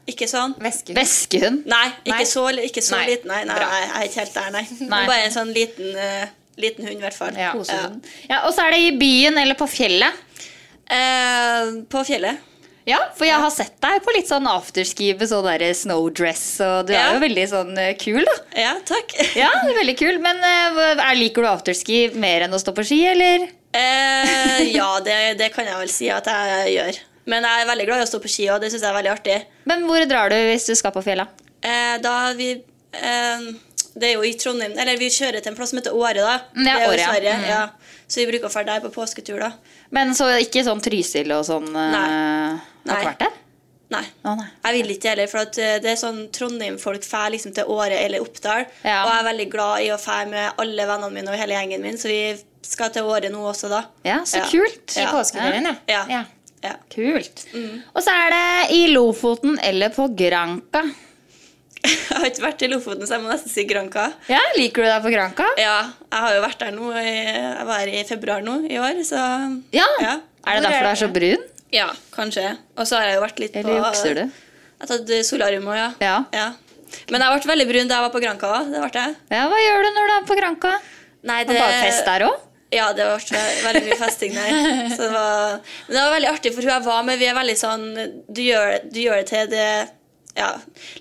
S5: Ikke sånn?
S3: Veskehund.
S2: Veskehund?
S5: Nei, ikke
S3: Nei.
S5: så, ikke så
S3: Nei.
S5: liten. Nei, nei,
S3: Bra.
S5: jeg er ikke helt der, nei.
S2: Nei.
S5: Bare en sånn liten, eh, liten hund, i hvert fall.
S3: Ja.
S2: Kosehund. Ja, og så er det i byen eller på fjellet.
S5: Eh, på fjellet.
S2: Ja, for jeg har sett deg på litt sånn afterski med sånn der snowdress, og du
S5: Ja.
S2: er jo veldig sånn eh, kul, da.
S5: Ja, takk.
S2: [laughs] Ja, du er veldig kul, men eh, er, liker du afterski mer enn å stå på ski, eller?
S5: [laughs] Eh, ja, det, det kan jeg vel si at jeg gjør. Men jeg er veldig glad i å stå på ski, og det syns jeg er veldig artig.
S2: Men hvor drar du hvis du skal på fjellet?
S5: Eh, da har vi eh, Det er jo i Trondheim Eller vi kjører til en plass som heter Åre, da.
S2: Mm, ja,
S5: det er jo
S2: Åre,
S5: i
S2: ja.
S5: Sverige. Ja. Så vi bruker å dra der på påsketur, da.
S2: Men så ikke sånn Trysil og sånn? eh,
S5: Nei.
S2: Har du
S5: Nei.
S2: vært der?
S5: Nei.
S2: Å, nei.
S5: Jeg vil ikke heller, for at eh, det er sånn Trondheim-folk drar liksom til Åre eller Oppdal.
S2: Ja.
S5: Og jeg er veldig glad i å dra med alle vennene mine og hele gjengen min, så vi skal til Åre nå også, da.
S2: Ja, Mm. så
S5: Ja.
S2: kult.
S3: I
S5: Ja.
S3: påskeferien, ja.
S5: Ja. Ja. [laughs]
S2: Kult. Og så er det i Lofoten eller på Granka.
S5: Jeg har ikke vært i Lofoten, så jeg må nesten si Granka.
S2: Ja, Liker du deg på Granka?
S5: Ja, jeg har jo vært der nå. i- Jeg var her i februar nå i år, så
S2: Ja.
S5: Ja.
S2: Er det derfor du er så brun?
S5: ja kanskje. Og så har jeg jo vært litt
S2: Eller
S5: på
S2: jukser du?
S5: Jeg har tatt eh, solarium òg, ja.
S2: Ja.
S5: Men jeg ble veldig brun da jeg var på Granca. også, Det ble jeg.
S2: Ja, Hva gjør du når du er på Granka?
S5: Nei,
S2: Det... Bare fest der òg?
S5: Ja, det var ve- veldig mye festing
S2: [laughs]
S5: der. Så det var, men det var veldig artig, for hun jeg var med, vi er veldig sånn Du gjør, du gjør det til det ja,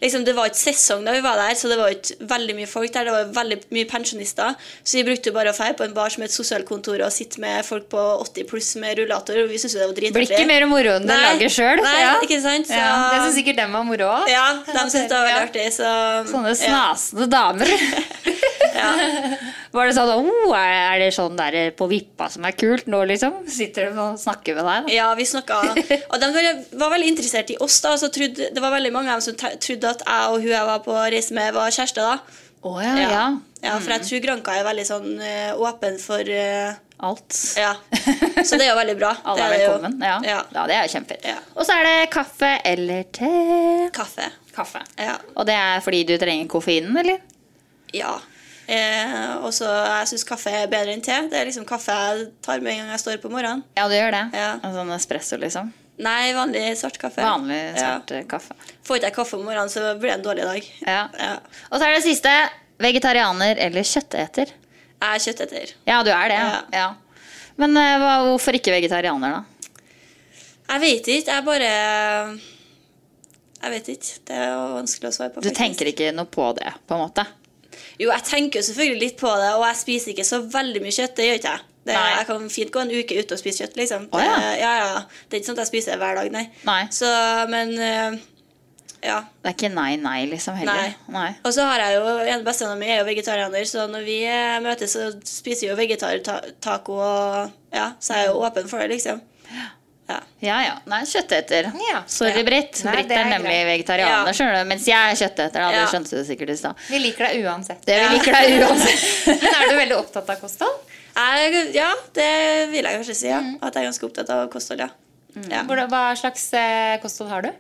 S5: liksom Det var ikke sesong da vi var der, så det var ikke veldig mye folk der. Det var veldig mye pensjonister. Så vi brukte jo bare å feire på en bar som het sosialkontoret og sitte med folk på 80 pluss med rullator. Og vi syntes jo det var
S2: Blir
S5: dritartig.
S2: ikke mer moro enn du
S5: Nei,
S2: lager sjøl.
S5: Nei,
S2: Ja.
S5: ikke sant? Så,
S3: Ja, Det
S5: ja,
S3: syns sikkert dem var moro òg.
S5: de syntes det var veldig artig, så
S2: Sånne snasende
S5: [laughs]
S2: damer. Var det sånn oh, er er det sånn der på vippa som er kult nå, liksom? Sitter de og snakker med deg? da?
S5: Ja, vi snakka Og de var- var veldig interessert i oss, da. Så trodde, det var veldig mange av dem som te- trodde at jeg og hun jeg var på reise med, var kjærester, da.
S2: Å ja, ja.
S5: Ja, for jeg tror Granka er veldig sånn eh, åpen for eh,
S2: Alt. [laughs]
S5: Ja. Så det er jo veldig bra.
S2: Alle er
S5: Det jo-
S2: velkommen. Ja.
S5: ja.
S2: ja, det er jo kjempefint.
S5: Ja.
S2: Og så er det kaffe eller te.
S5: Kaffe.
S2: Kaffe.
S5: Ja.
S2: Og det er fordi du trenger koffeinen, eller?
S5: ja. Eh, og så jeg syns kaffe er bedre enn te. Det er liksom kaffe jeg tar med en gang jeg står opp om morgenen.
S2: Ja, du gjør det.
S5: Ja.
S2: En sånn espresso, liksom.
S5: Nei, vanlig svart kaffe.
S2: Vanlig svart eh, kaffe.
S5: Ja. Får ikke jeg kaffe om morgenen, så blir det en dårlig dag.
S2: Ja.
S5: Ja.
S2: Og så er det siste. Vegetarianer eller kjøtteter?
S5: Jeg er kjøtteter.
S2: Ja, du er det. Ja.
S5: Ja.
S2: ja. Men eh, hva, hvorfor ikke vegetarianer, da?
S5: Jeg vet ikke. Jeg bare Jeg vet ikke. Det er jo vanskelig å svare på.
S2: Du tenker ikke noe på det, på en måte?
S5: Jo, jeg tenker jo selvfølgelig litt på det, og jeg spiser ikke så veldig mye kjøtt. Det gjør ikke jeg. Det,
S2: Nei.
S5: jeg kan fint gå en uke uten å spise kjøtt, liksom.
S2: Å, ja.
S5: Det, ja, ja. det er ikke sånn at jeg spiser det hver dag, nei.
S2: Nei.
S5: Så, men eh, ja.
S2: Det er ikke nei, nei, liksom, heller?
S5: Nei. Og så har jeg jo en bestevenn min er jo vegetarianer, så når vi eh, møtes, så spiser vi jo vegetartaco og Ja, så jeg er jo åpen for det, liksom. Ja.
S2: Mm. Ja, ja. Nei, kjøtteter.
S3: Ja.
S2: Sorry,
S3: Ja.
S2: Britt.
S3: Nei,
S2: Britt
S3: det
S2: er,
S3: er
S2: nemlig
S3: greit.
S2: vegetarianer,
S5: Ja.
S2: skjønner du. Mens jeg er kjøtteter, da. Det
S5: Ja.
S2: skjønte du sikkert i stad.
S3: Vi liker deg uansett.
S2: Det vi liker deg uansett.
S3: [laughs] Men er du veldig opptatt av kosthold?
S5: Jeg, ja, det vil jeg kanskje si. Ja.
S2: Mm.
S5: At jeg er ganske opptatt av kosthold. ja. ja.
S3: Hvordan- Hva slags eh, kosthold har du?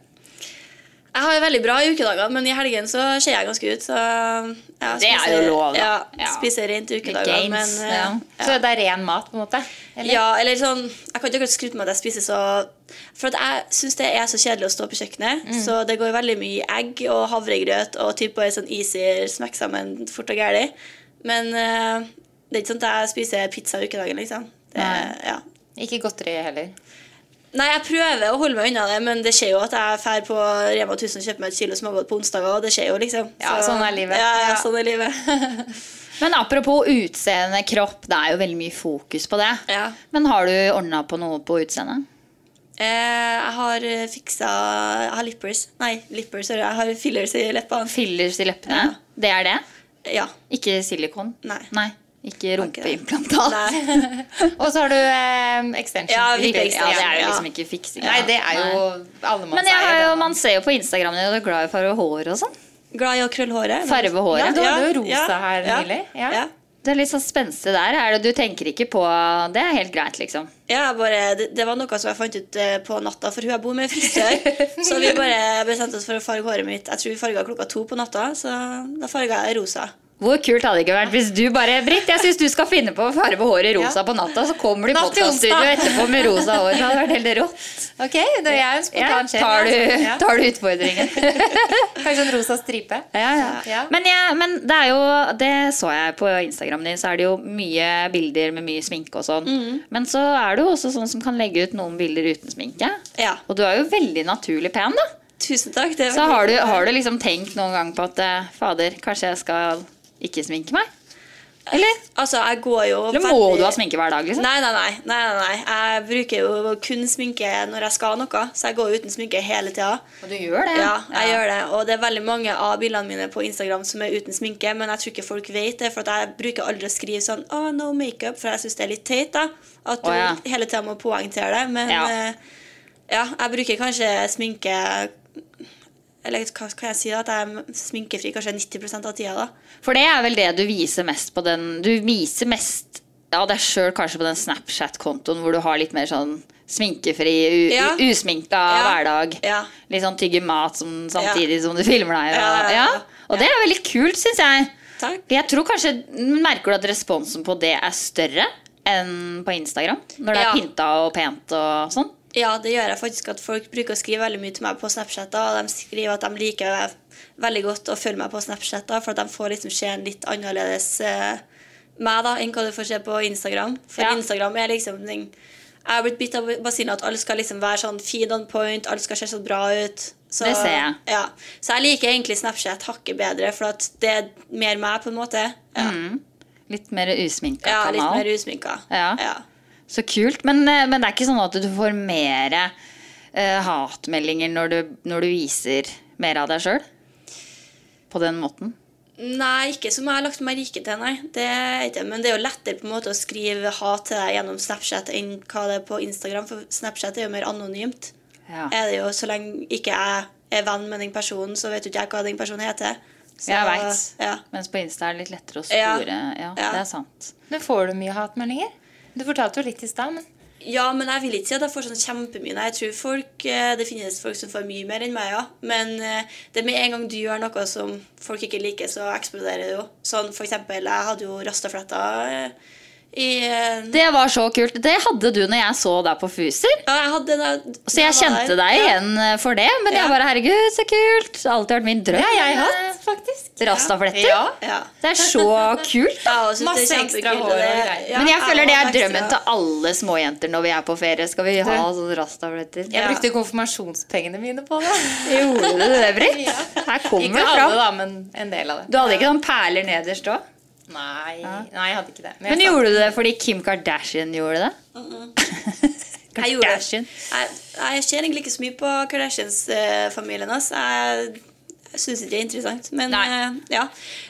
S5: Jeg har det veldig bra i ukedagene, men i helgen så ser jeg ganske ut. Så ja,
S2: Det er jo lov, da.
S5: Ja,
S2: Ja.
S5: Spiser rent i ukedagene, men
S2: gains,
S5: eh,
S2: ja.
S3: Så det er ren mat, på en måte? Eller?
S5: Ja, eller sånn Jeg kan ikke akkurat skryte med at jeg spiser så For at jeg syns det er så kjedelig å stå på kjøkkenet.
S3: Mm.
S5: Så det går veldig mye i egg og havregrøt og typ bare sånn easy smekk sammen fort og gæli. Men eh, det er ikke sånn at jeg spiser pizza i ukedagen, liksom. Det, ja.
S3: Ikke godteri heller.
S5: Nei, jeg prøver å holde meg unna det, men det skjer jo at jeg drar på Rema 1000 og kjøper meg et kilo smågodt på onsdager. og det skjer jo liksom.
S3: Ja, sånn er livet.
S5: Ja, ja,
S3: Ja.
S5: sånn er livet. [laughs]
S2: Men apropos utseende, kropp. Det er jo veldig mye fokus på det.
S5: Ja.
S2: Men har du ordna på noe på utseendet?
S5: Eh, jeg har eh, fiksa Jeg har lippers. Nei, lippers, sorry. Jeg har fillers i leppene.
S2: Fillers i leppene?
S5: Ja.
S2: Det er det?
S5: Ja.
S2: Ikke silikon?
S5: Nei.
S2: Ikke
S5: Nei.
S2: [laughs] rumpeimplantat.
S3: Og så har du eh, extension.
S5: Ja, vi-
S2: Ripper- Ja, det er jo
S5: Ja.
S2: liksom ikke fiksing.
S3: Nei, det er jo
S2: Nei.
S3: alle man
S2: Men jeg har jo, man ser jo på Instagram din at du er glad i å farge hår og sånn.
S5: Glad i å krølle håret.
S2: Farve håret.
S3: Ja, du hadde jo rosa
S5: ja,
S3: her
S5: ja,
S3: nylig. Ja.
S5: Ja.
S2: Det er litt sånn spenstig der. Er det, du tenker ikke på Det er helt greit, liksom.
S5: Ja, jeg bare, det, det var noe som jeg fant ut eh, på natta, for hun jeg bor med,
S2: [laughs]
S5: er frisør. Så vi bare bestemte oss for å farge håret mitt. Jeg tror vi farga klokka to på natta, så da farga jeg rosa.
S2: Hvor kult hadde det ikke vært hvis du bare Britt, jeg syns du skal finne på å farge håret rosa på natta, så kommer du i
S3: Natt til
S2: podkaststudio
S3: onsdag.
S2: etterpå med rosa hår. Det hadde vært helt rått.
S3: Ok, det er en
S2: Ja,
S3: spontan sjel.
S2: tar, du,
S3: Ja.
S2: tar du utfordringen?
S3: Kanskje en rosa stripe.
S2: Ja, ja.
S3: Ja.
S2: Men, jeg, men det er jo Det så jeg på Instagram din, så er det jo mye bilder med mye sminke og sånn.
S5: Mm.
S2: Men så er du jo også sånn som kan legge ut noen bilder uten sminke.
S5: Ja.
S2: Og du er jo veldig naturlig pen, da.
S5: Tusen takk. Det er
S2: Så
S5: veldig-
S2: har du, har du liksom tenkt noen gang på at eh, fader, kanskje jeg skal ikke sminke meg? Eller?
S5: Altså, jeg går jo
S2: Eller må
S5: veldig-
S2: du ha sminke hver dag? liksom?
S5: Nei, nei, nei, nei, nei, nei. Jeg bruker jo kun sminke når jeg skal noe, så jeg går jo uten sminke hele tida.
S2: Og du gjør det?
S5: Ja, jeg gjør det. Og det er veldig mange av bildene mine på Instagram som er uten sminke, men jeg tror ikke folk vet det, for at jeg bruker aldri å skrive sånn oh, 'no makeup', for jeg syns det er litt teit da, at du
S2: Å, ja.
S5: hele tida må poengtere det. Men
S2: Ja.
S5: eh, ja, jeg bruker kanskje sminke Eller hva kan jeg si, da? At jeg er sminkefri kanskje 90 av tida, da.
S2: For det er vel det du viser mest på den Du viser mest av deg sjøl kanskje på den Snapchat-kontoen hvor du har litt mer sånn sminkefri, u
S5: Ja.
S2: u- usminka
S5: Ja.
S2: hverdag.
S5: Ja.
S2: Litt sånn tygge mat som, samtidig som du filmer deg. Og,
S5: Ja, ja,
S2: ja.
S5: ja.
S2: og det er veldig kult, syns jeg.
S5: Takk.
S2: Jeg tror kanskje, Merker du at responsen på det er større enn på Instagram? Når det
S5: Ja.
S2: er pynta og pent og sånn?
S5: Ja, det gjør jeg faktisk at folk bruker å skrive veldig mye til meg på Snapchat. da, Og de skriver at de liker meg veldig godt å følge meg på Snapchat, da, for at de får liksom se en litt annerledes eh, meg da, enn hva du får se på Instagram. For
S2: Ja.
S5: Instagram er liksom den Jeg har blitt bitt av basillen at alle skal liksom være sånn feed on point, alle skal se så bra ut. Så,
S2: Det ser jeg.
S5: Ja. Så jeg liker egentlig Snapchat hakket bedre, for at det er mer meg, på en måte. Ja,
S2: Litt mer usminka
S5: ja litt
S2: Mm, kanal.
S5: mer usminka.
S2: Ja.
S5: ja.
S2: Så kult. Men, eh, men det er ikke sånn at du får mer eh, hatmeldinger når du, når du viser mer av deg sjøl? På den måten?
S5: Nei, ikke som jeg har lagt meg rike til, nei. Det er ikke. Men det er jo lettere på en måte å skrive hat til deg gjennom Snapchat enn hva det er på Instagram, for Snapchat er jo mer anonymt.
S2: Ja.
S5: Er det jo, Så lenge ikke jeg er venn med den personen, så vet jo ikke jeg hva den personen heter. Så,
S2: Jeg veit.
S5: Ja.
S2: Mens på Insta er det litt lettere å
S5: Ja.
S2: spore. Ja,
S5: Ja.
S2: det er sant.
S3: Men får du mye hatmeldinger? Du fortalte jo litt i stad, men
S5: ja, men jeg vil ikke si at jeg får sånn kjempemye. Nei, jeg tror folk, eh, Det finnes folk som får mye mer enn meg, ja. Men eh, det med en gang du gjør noe som folk ikke liker, så eksploderer det jo. Sånn for eksempel, jeg hadde jo rastafletter eh, i eh,
S2: Det var så kult. Det hadde du når jeg så deg på Fuser.
S5: Ja, jeg hadde det da-
S2: Så jeg
S5: da var
S2: kjente
S5: der.
S2: deg
S5: Ja.
S2: igjen eh, for det. Men
S5: Ja.
S2: jeg bare herregud, så kult. Det har alltid vært min drøm.
S3: Ja, jeg har hatt, faktisk.
S2: Rastafletter.
S3: Ja.
S5: Ja.
S2: Det er så kult.
S5: Ja, og synes det er
S3: Masse
S5: kjempekult,
S3: ekstra
S5: og
S3: hår og
S5: det-
S3: greier.
S5: [laughs] ja,
S2: Men jeg føler det
S5: har
S2: er drømmen
S5: ekstra-
S2: til alle småjenter når vi er på ferie. Skal vi ha sånn rastafletter?
S3: Jeg
S5: Ja.
S3: brukte konfirmasjonspengene mine på det.
S2: Gjorde du det, Britt? Her kommer
S3: Ikke
S2: det
S3: alle,
S2: fram.
S3: da, men en del av det.
S2: Du hadde ikke noen perler nederst òg?
S3: Nei, nei, jeg hadde ikke det.
S2: Men
S3: jeg
S2: gjorde du det fordi Kim Kardashian gjorde det?
S5: Jeg gjorde det.
S2: Kardashian.
S5: Jeg, jeg ser egentlig ikke så mye på Kardashians-familien hans. Jeg, jeg syns ikke det er interessant. Men Nei. ja.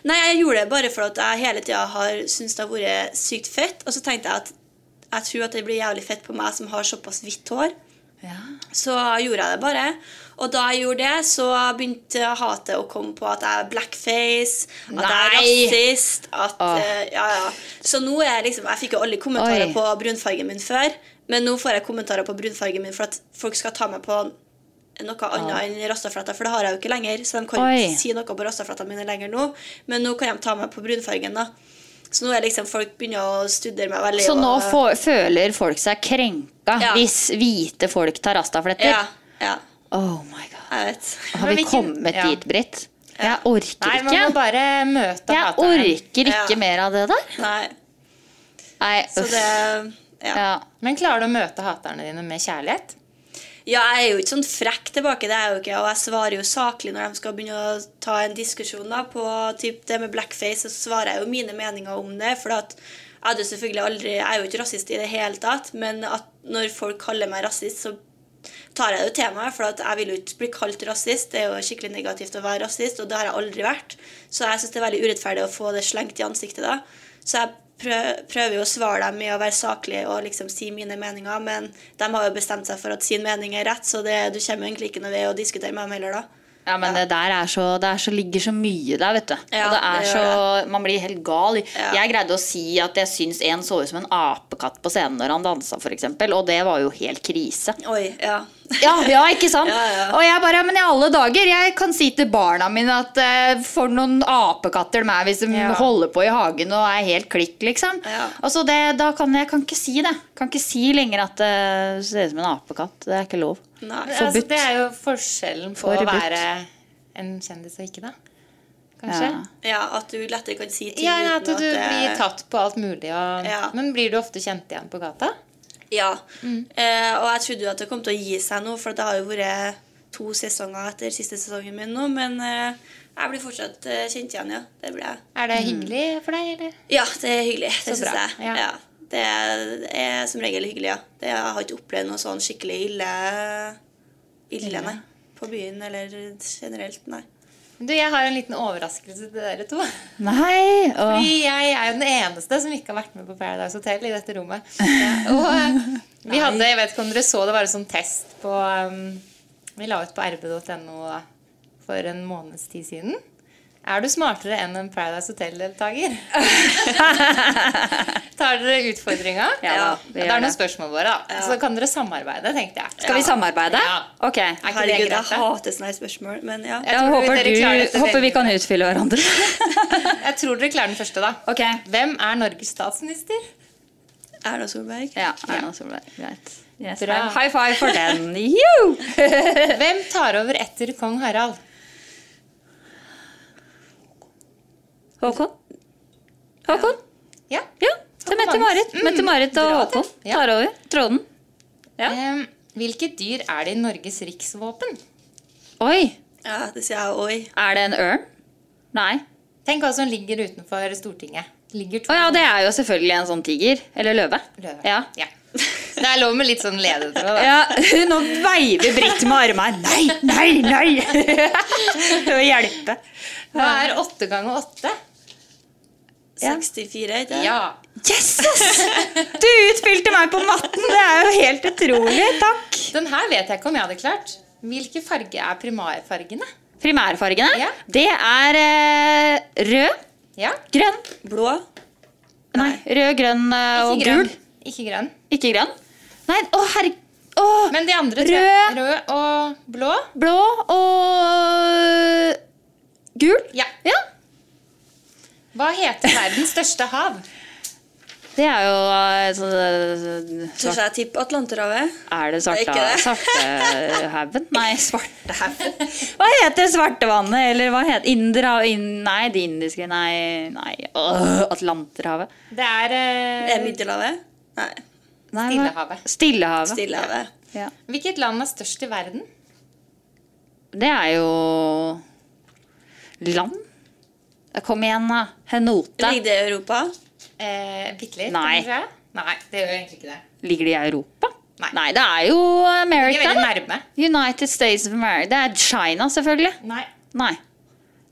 S5: Nei, jeg gjorde det bare for at jeg hele tida har syntes det har vært sykt fett. Og så tenkte jeg at jeg tror at det blir jævlig fett på meg som har såpass hvitt hår. Så gjorde jeg det bare. Og da jeg gjorde det, så begynte hatet å komme på at jeg er blackface, at jeg
S2: Nei!
S5: er rasist, at
S2: Åh.
S5: eh, Ja, ja. Så nå er jeg liksom Jeg fikk jo alle kommentarer
S2: Oi.
S5: på brunfargen min før, men nå får jeg kommentarer på brunfargen min for at folk skal ta meg på noe annet enn rastafletta, for det har jeg jo ikke lenger. Så de kan jo
S2: Oi.
S5: ikke si noe på rastaflettaene mine lenger nå, men nå kan de ta meg på brunfargen, da. Så nå er liksom folk begynner å studere meg veldig.
S2: Så nå
S5: og-
S2: få- føler folk seg krenka
S5: Ja.
S2: hvis hvite folk tar rastafletter?
S5: Ja, ja.
S2: Oh my god.
S5: Jeg vet.
S2: Har
S3: Men
S2: vi
S3: hvilken-
S2: kommet
S3: ja.
S2: dit, Britt? Jeg orker
S3: Nei, man må
S2: ikke.
S3: bare møte
S2: Jeg
S3: hateren.
S2: orker
S5: Ja.
S2: ikke mer av det der.
S5: Nei.
S2: Nei,
S5: Så
S2: uff.
S5: det Ja.
S2: Ja.
S3: Men klarer du å møte haterne dine med kjærlighet?
S5: Ja, jeg er jo ikke sånn frekk tilbake, det er jeg jo ikke. Og jeg svarer jo saklig når de skal begynne å ta en diskusjon da, på typ, det med blackface. Så svarer jeg jo mine meninger om det. For at jeg hadde jo selvfølgelig aldri Jeg er jo ikke rasist i det hele tatt, men at når folk kaller meg rasist, så tar jeg det jo til meg. For at jeg vil jo ikke bli kalt rasist. Det er jo skikkelig negativt å være rasist, og det har jeg aldri vært. Så jeg syns det er veldig urettferdig å få det slengt i ansiktet da. Så jeg prø- prøver jo å svare dem med å være saklig og liksom si mine meninger, men de har jo bestemt seg for at sin mening er rett, så det, du kommer jo egentlig ikke noe ved å diskutere med dem heller da.
S2: Ja, men det der er så, det er så, ligger så mye der, vet du.
S5: Ja,
S2: og det er
S5: det
S2: så,
S5: gjør
S2: Man blir helt gal.
S5: Ja.
S2: Jeg greide å si at jeg syns en så ut som en apekatt på scenen når han dansa, f.eks., og det var jo helt krise.
S5: Oi, [laughs] ja.
S2: Ja, ja, ikke sant?
S5: [laughs] Ja, ja.
S2: Og jeg bare, men i alle dager, jeg kan si til barna mine at eh, for noen apekatter de er hvis de
S3: Ja.
S2: holder på i hagen og er helt klikk, liksom.
S5: Ja.
S2: Altså, det, da kan jeg kan ikke si det. Kan ikke si lenger at eh, det ser ut som en apekatt. Det er ikke lov.
S5: Nei.
S3: Altså,
S2: Forbudt.
S3: det er jo forskjellen på
S2: Forbudt.
S3: å være en kjendis og ikke, da. Kanskje?
S2: Ja.
S5: Ja, at du lettere kan si ting
S3: Ja, ja,
S5: uten
S3: at du
S5: det-
S3: blir tatt på alt mulig. Og,
S5: Ja.
S3: Men blir du ofte kjent igjen på gata?
S5: Ja.
S3: Mm.
S5: Eh, og jeg trodde jo at det kom til å gi seg nå, for det har jo vært to sesonger etter siste sesongen min nå, men eh, jeg blir fortsatt eh, kjent igjen, ja. Det blir jeg.
S3: Er
S2: Mhm.
S3: det hyggelig for deg, eller?
S5: Ja, det er hyggelig. Det
S3: Så
S5: syns
S3: bra,
S5: jeg.
S3: ja.
S5: Ja. Det er- det er som regel hyggelig, ja. Det, jeg har ikke opplevd noe sånn skikkelig ille, ille nei. På byen eller generelt, nei.
S3: Du, jeg har en liten overraskelse til dere to.
S2: Nei! Og...
S3: Fordi jeg er jo den eneste som ikke har vært med på Paradise Hotel i dette rommet. Og eh, vi hadde, jeg vet ikke om dere så det, var en sånn test på um, Vi la ut på rb.no for en måneds tid siden. Er du smartere enn en Paradise
S2: [laughs]
S3: Hotel-deltaker? Tar dere utfordringa?
S2: Ja, vi
S3: det
S2: gjør
S3: er noen
S2: det.
S3: spørsmål våre, da. Så kan dere samarbeide, tenkte jeg.
S2: Skal vi samarbeide?
S3: Ja.
S2: Ok.
S3: Er ikke det
S5: Herregud, jeg
S3: greit, da?
S5: hater sånne her spørsmål, men ja.
S3: Jeg
S2: Jeg
S3: tror
S2: håper,
S3: dere klarer dette
S2: du, håper vi
S3: veldig
S2: kan
S3: bra.
S2: utfylle hverandre.
S3: [laughs] Jeg tror dere klarer den første, da.
S2: ok.
S3: Hvem er Norges statsminister?
S5: Erna Solberg.
S2: Ja, Erna Solberg. Greit. Yes,
S3: Bra.
S2: High five for
S3: [laughs]
S2: den. Juhu!
S3: Hvem tar over etter kong Harald?
S2: Håkon? Håkon?
S3: Ja.
S2: Ja. Det er Mette-Marit.
S3: Mm,
S2: Mette-Marit og
S3: bra det.
S2: Håkon
S3: Ja.
S2: tar over tråden. Ja.
S3: Em, hvilket dyr er det i Norges riksvåpen?
S2: Oi!
S5: Ja, det sier jeg òg.
S2: Er det en ørn? Nei.
S3: Tenk hva som ligger utenfor Stortinget. Ligger to
S2: Å ja, det er jo selvfølgelig en sånn tiger. Eller løve.
S3: løver.
S2: Ja.
S3: Ja.
S5: [laughs]
S3: Det er lov med litt sånn ledetråd. da.
S2: Ja, Nå veiver Britt med armene. Nei, nei, nei! Det vil hjelpe.
S3: Hva er åtte ganger åtte?
S5: 64, ikke det?
S3: Ja.
S2: Yes! ass! [laughs] Du utfylte meg på matten! Det er jo helt utrolig. Takk.
S3: Den her vet jeg ikke om jeg hadde klart. Hvilke farge er primærfargene?
S2: Primærfargene,
S3: Ja.
S2: det er eh, rød,
S3: Ja.
S2: grønn
S5: Blå.
S2: Nei, rød, grønn eh, og
S3: grønn.
S2: gul.
S3: Ikke grønn.
S2: Ikke grønn. Nei, å herre... Å,
S3: Men de andre tre
S2: Rød.
S3: Rød og blå.
S2: blå og gul.
S3: Ja.
S2: Ja.
S3: Hva heter verdens største hav?
S2: Det er jo eh, så, eh,
S5: Tør
S2: svart,
S5: jeg tippe Atlanterhavet?
S2: Er det
S5: Det er
S2: svarta,
S5: ikke det.
S2: Svartehaugen? Nei, Svartehaugen.
S3: [laughs]
S2: Hva heter Svartevannet? Eller hva heter Inderhavet? In, nei, det indiske Nei, nei. Åh, Atlanterhavet.
S3: Det er eh,
S5: Er det Middelhavet? Nei.
S2: Nei, hva-
S3: Stillehavet.
S2: Stillehavet.
S5: Stillehavet.
S2: Ja.
S3: Hvilket land er størst i verden?
S2: Det er jo land. Ja, Kom igjen, da. Henote.
S5: Ligger det i Europa?
S3: Eh, Bitte litt,
S2: Nei.
S3: kanskje? Nei, det gjør egentlig ikke det.
S2: Ligger de i Europa?
S3: Nei.
S2: det er jo
S3: Ikke
S2: America.
S3: veldig
S2: da.
S3: nærme.
S2: United States of America. Det er China, selvfølgelig.
S3: Nei.
S2: Nei.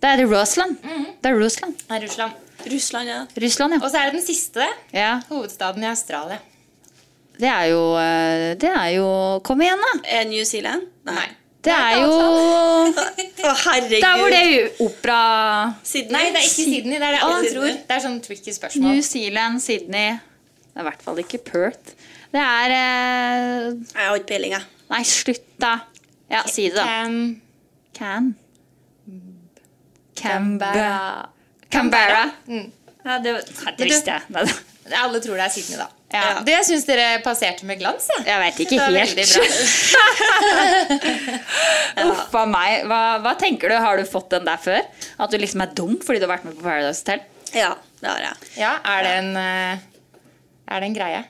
S2: Det er Russland. Det er Russland.
S3: Det er Russland.
S5: Russland, ja.
S2: Russland,
S3: Og
S2: ja.
S3: så er det den siste.
S2: ja.
S3: Hovedstaden i Australia.
S2: Det er jo eh, Det er jo Kom igjen, da.
S5: Er New Zealand?
S3: [laughs]
S5: Nei.
S2: Det er jo
S5: Å,
S2: [laughs]
S5: herregud.
S2: Der hvor det er opera
S5: Sydney?
S3: Nei, det er ikke Sydney. Det er det alle tror. Det er sånn tricky spørsmål.
S2: New Zealand, Sydney Det er i hvert fall ikke Perth. Det er eh,
S5: Jeg har ikke peiling, jeg.
S2: Nei, slutt, da. Ja, si det, da.
S3: Um,
S2: Can. Canberra. Canberra. Ja, det, Nei, det visste jeg. Nei, da.
S3: alle tror det er Sydney, da.
S2: Ja.
S3: Det syns dere passerte med glans. jeg.
S2: Jeg vet
S3: Det
S2: ikke
S3: var veldig bra.
S2: helt. [laughs] Uff a meg. Hva, hva tenker du? Har du fått den der før? At du liksom er dum fordi du har vært med på Paradise Hotel?
S5: Ja, det har jeg.
S3: Ja, er det en eh, Er det en greie?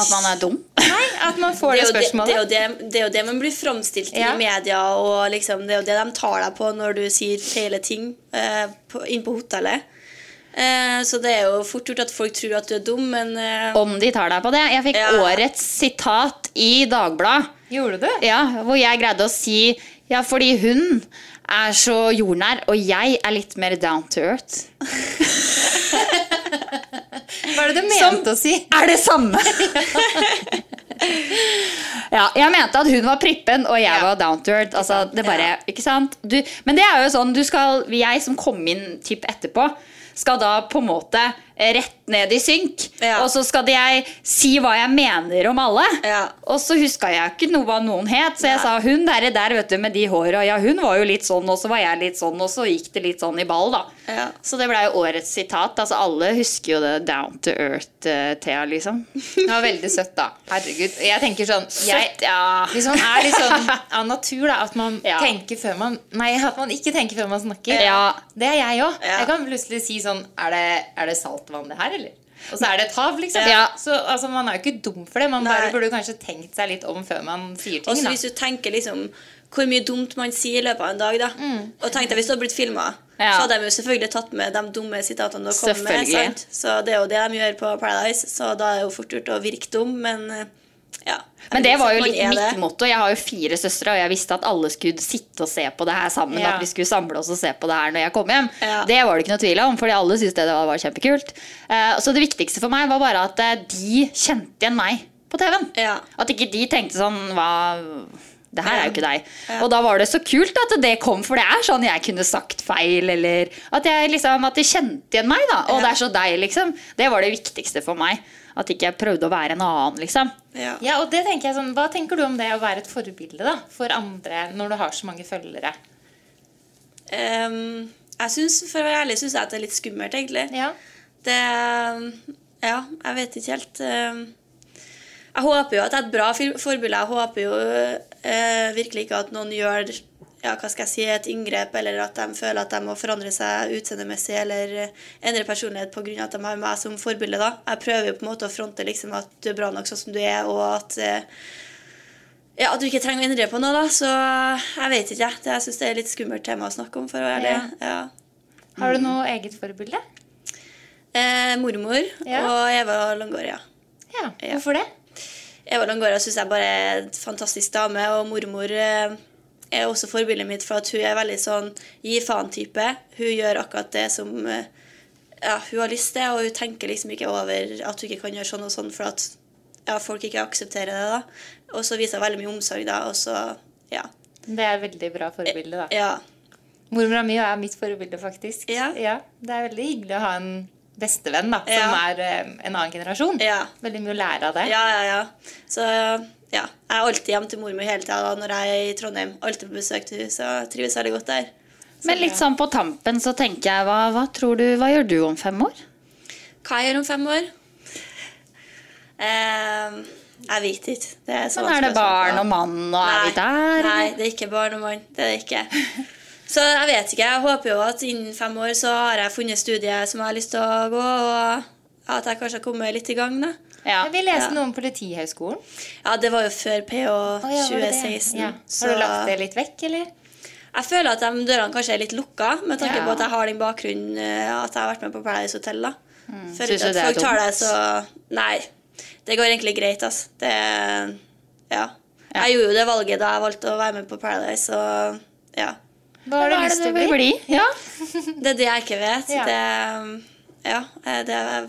S2: At man er dum?
S3: Nei, at man får
S5: Det
S3: det,
S5: er, jo det, det, er jo
S3: spørsmålet.
S5: det, det er jo det man blir framstilt
S3: Ja.
S5: i media, og liksom, det er jo det de tar deg på når du sier feile ting eh, på, inn på hotellet. Eh, så det er jo fort gjort at folk tror at du er dum, men eh,
S2: Om de tar deg på det. Jeg fikk
S5: Ja.
S2: årets sitat i Dagbladet.
S3: Gjorde du?
S2: Ja, hvor jeg greide å si Ja, fordi hun er så jordnær, og jeg er litt mer down to earth.
S3: Hva er det du mente å si?
S2: er det samme! [laughs] ja, jeg mente at hun var prippen, og jeg
S3: Ja.
S2: var down to earth. Altså, det bare, ikke sant? Du, men det er jo sånn, du skal, jeg som kom inn typ etterpå, skal da på en måte rett ned i synk.
S5: Ja.
S2: Og så skal jeg si hva jeg mener om alle.
S5: Ja.
S2: Og så huska jeg ikke noe hva noen het, så jeg sa hun der, der vet du, med de håra. Ja, hun var jo litt sånn, og så var jeg litt sånn, og så gikk det litt sånn i ball, da.
S5: Ja.
S2: Så det blei jo årets sitat. Altså, alle husker jo det down to earth-Thea, liksom.
S3: Det var veldig søtt, da. Herregud. Jeg tenker sånn jeg,
S2: Søtt, ja.
S3: Hvis man er litt sånn av natur, da, at man
S2: Ah. Ja.
S3: tenker før man Nei, at man ikke tenker før man snakker.
S2: Ja.
S3: Det er jeg òg.
S5: Ja.
S3: Jeg kan plutselig si sånn Er det, er det saltvann, det her, eller? Og så er det et hav, liksom.
S2: Ja.
S3: Så altså, man er jo ikke dum for det. Man
S5: Nei.
S3: bare burde kanskje tenkt seg litt om før man sier ting,
S5: Også
S3: da.
S5: hvis du tenker liksom hvor mye dumt man sier i løpet av en dag. da. Og tenk deg hvis det hadde blitt filma,
S2: Mm. Ja.
S5: så hadde de jo selvfølgelig tatt med de dumme sitatene du har kommet med.
S2: Selvfølgelig.
S5: Sant? Så det er jo det de gjør på Paradise, så da er det jo fort gjort å virke dum, men eh, ja.
S2: Men det var jo
S5: Man
S2: litt
S5: Sånn er det.
S2: mitt motto. Jeg har jo fire søstre, og jeg visste at alle skulle sitte og se på det her sammen.
S3: Ja.
S2: At vi skulle samle oss og se på det her når jeg kom hjem.
S5: Ja.
S2: Det var det ikke noe tvil om, fordi alle syntes det var- var kjempekult. Eh, Så det viktigste for meg var bare at eh, de kjente igjen meg på TV-en.
S5: Ja.
S2: At ikke de tenkte sånn Hva det her er jo ikke deg. Og da var det så kult at det kom, for det er sånn jeg kunne sagt feil, eller at, jeg liksom, at de kjente igjen meg, da. Og det er så deg, liksom. Det var det viktigste for meg. At ikke jeg prøvde å være en annen, liksom.
S5: Ja.
S3: Ja, og det tenker jeg sånn, Hva tenker du om det å være et forbilde da, for andre når du har så mange følgere?
S5: Ehm, jeg synes, For å være ærlig syns jeg at det er litt skummelt, egentlig.
S3: Ja.
S5: Det Ja, jeg vet ikke helt. Ehm, Jeg håper jo at det er et bra fil- forbilde. Jeg håper jo eh, virkelig ikke at noen gjør ja, hva skal jeg si, et inngrep, eller at de føler at de må forandre seg utseendemessig eller eh, endre personlighet pga. at de har meg som forbilde. da. Jeg prøver jo på en måte å fronte liksom, at du er bra nok sånn som du er, og at eh, ja, at du ikke trenger å endre på noe, da. Så eh, jeg vet ikke, jeg. Det- Jeg syns det er litt skummelt tema å snakke om, for å være ærlig. Ja.
S3: Har du noe eget forbilde?
S5: Eh, mormor
S3: Ja.
S5: og Eva Longoria.
S3: Ja. Hvorfor det?
S5: Eva Longoria syns jeg bare er en fantastisk dame, og mormor eh, er også forbildet mitt for at hun er veldig sånn gi faen-type. Hun gjør akkurat det som eh, ja, hun har lyst til, og hun tenker liksom ikke over at hun ikke kan gjøre sånn og sånn for at ja, folk ikke aksepterer det. da. Og så viser hun veldig mye omsorg, da, og så ja.
S3: Det er et veldig bra forbilde, da.
S5: ja.
S3: Mormora mi er mitt forbilde, faktisk.
S5: Ja.
S3: Det er veldig hyggelig å ha en bestevenn da, som
S5: Ja.
S3: er eh, en annen generasjon.
S5: Ja.
S3: Veldig mye å lære av det.
S5: Ja, ja, ja. Så ja, jeg er alltid hjemme til mormor hele tida da, når jeg er i Trondheim. Alltid på besøk til henne, så jeg trives veldig godt der.
S2: Men litt sånn på tampen så tenker jeg, hva, hva tror du, hva gjør du om fem år?
S5: Hva jeg gjør om fem år? Eh, jeg vet ikke. Det er så
S2: Sånn er det
S5: vanskelig å svare
S2: barn
S5: på.
S2: og mann, og er vi der?
S5: Nei, det er ikke barn og mann. Det er det ikke. Så jeg vet ikke. Jeg håper jo at innen fem år så har jeg funnet studiet som jeg har lyst til å gå, og at jeg kanskje har kommet litt i gang, da.
S2: Ja.
S3: Vi leste
S5: Ja.
S3: noe om Politihøgskolen.
S5: Ja, det var jo før PH
S3: Å, ja, var det det?
S5: 2016.
S3: Ja.
S5: så-
S3: Har du lagt det litt vekk, eller?
S5: Jeg føler at de dørene kanskje er litt lukka, med tanke
S2: Ja.
S5: på at jeg har den bakgrunnen eh, at jeg har vært med på Paradise Hotel. da. For
S2: Mm. Synes
S5: ikke
S2: du
S5: at
S2: det er
S5: folk tar
S2: dumt?
S5: det så Nei. Det går egentlig greit, altså. Det Ja. Jeg gjorde jo det valget da jeg valgte å være med på Paradise, så ja.
S3: Hva har du lyst til å bli?
S2: Ja.
S5: Det er det jeg ikke vet.
S3: Ja.
S5: Det, ja, eh, det er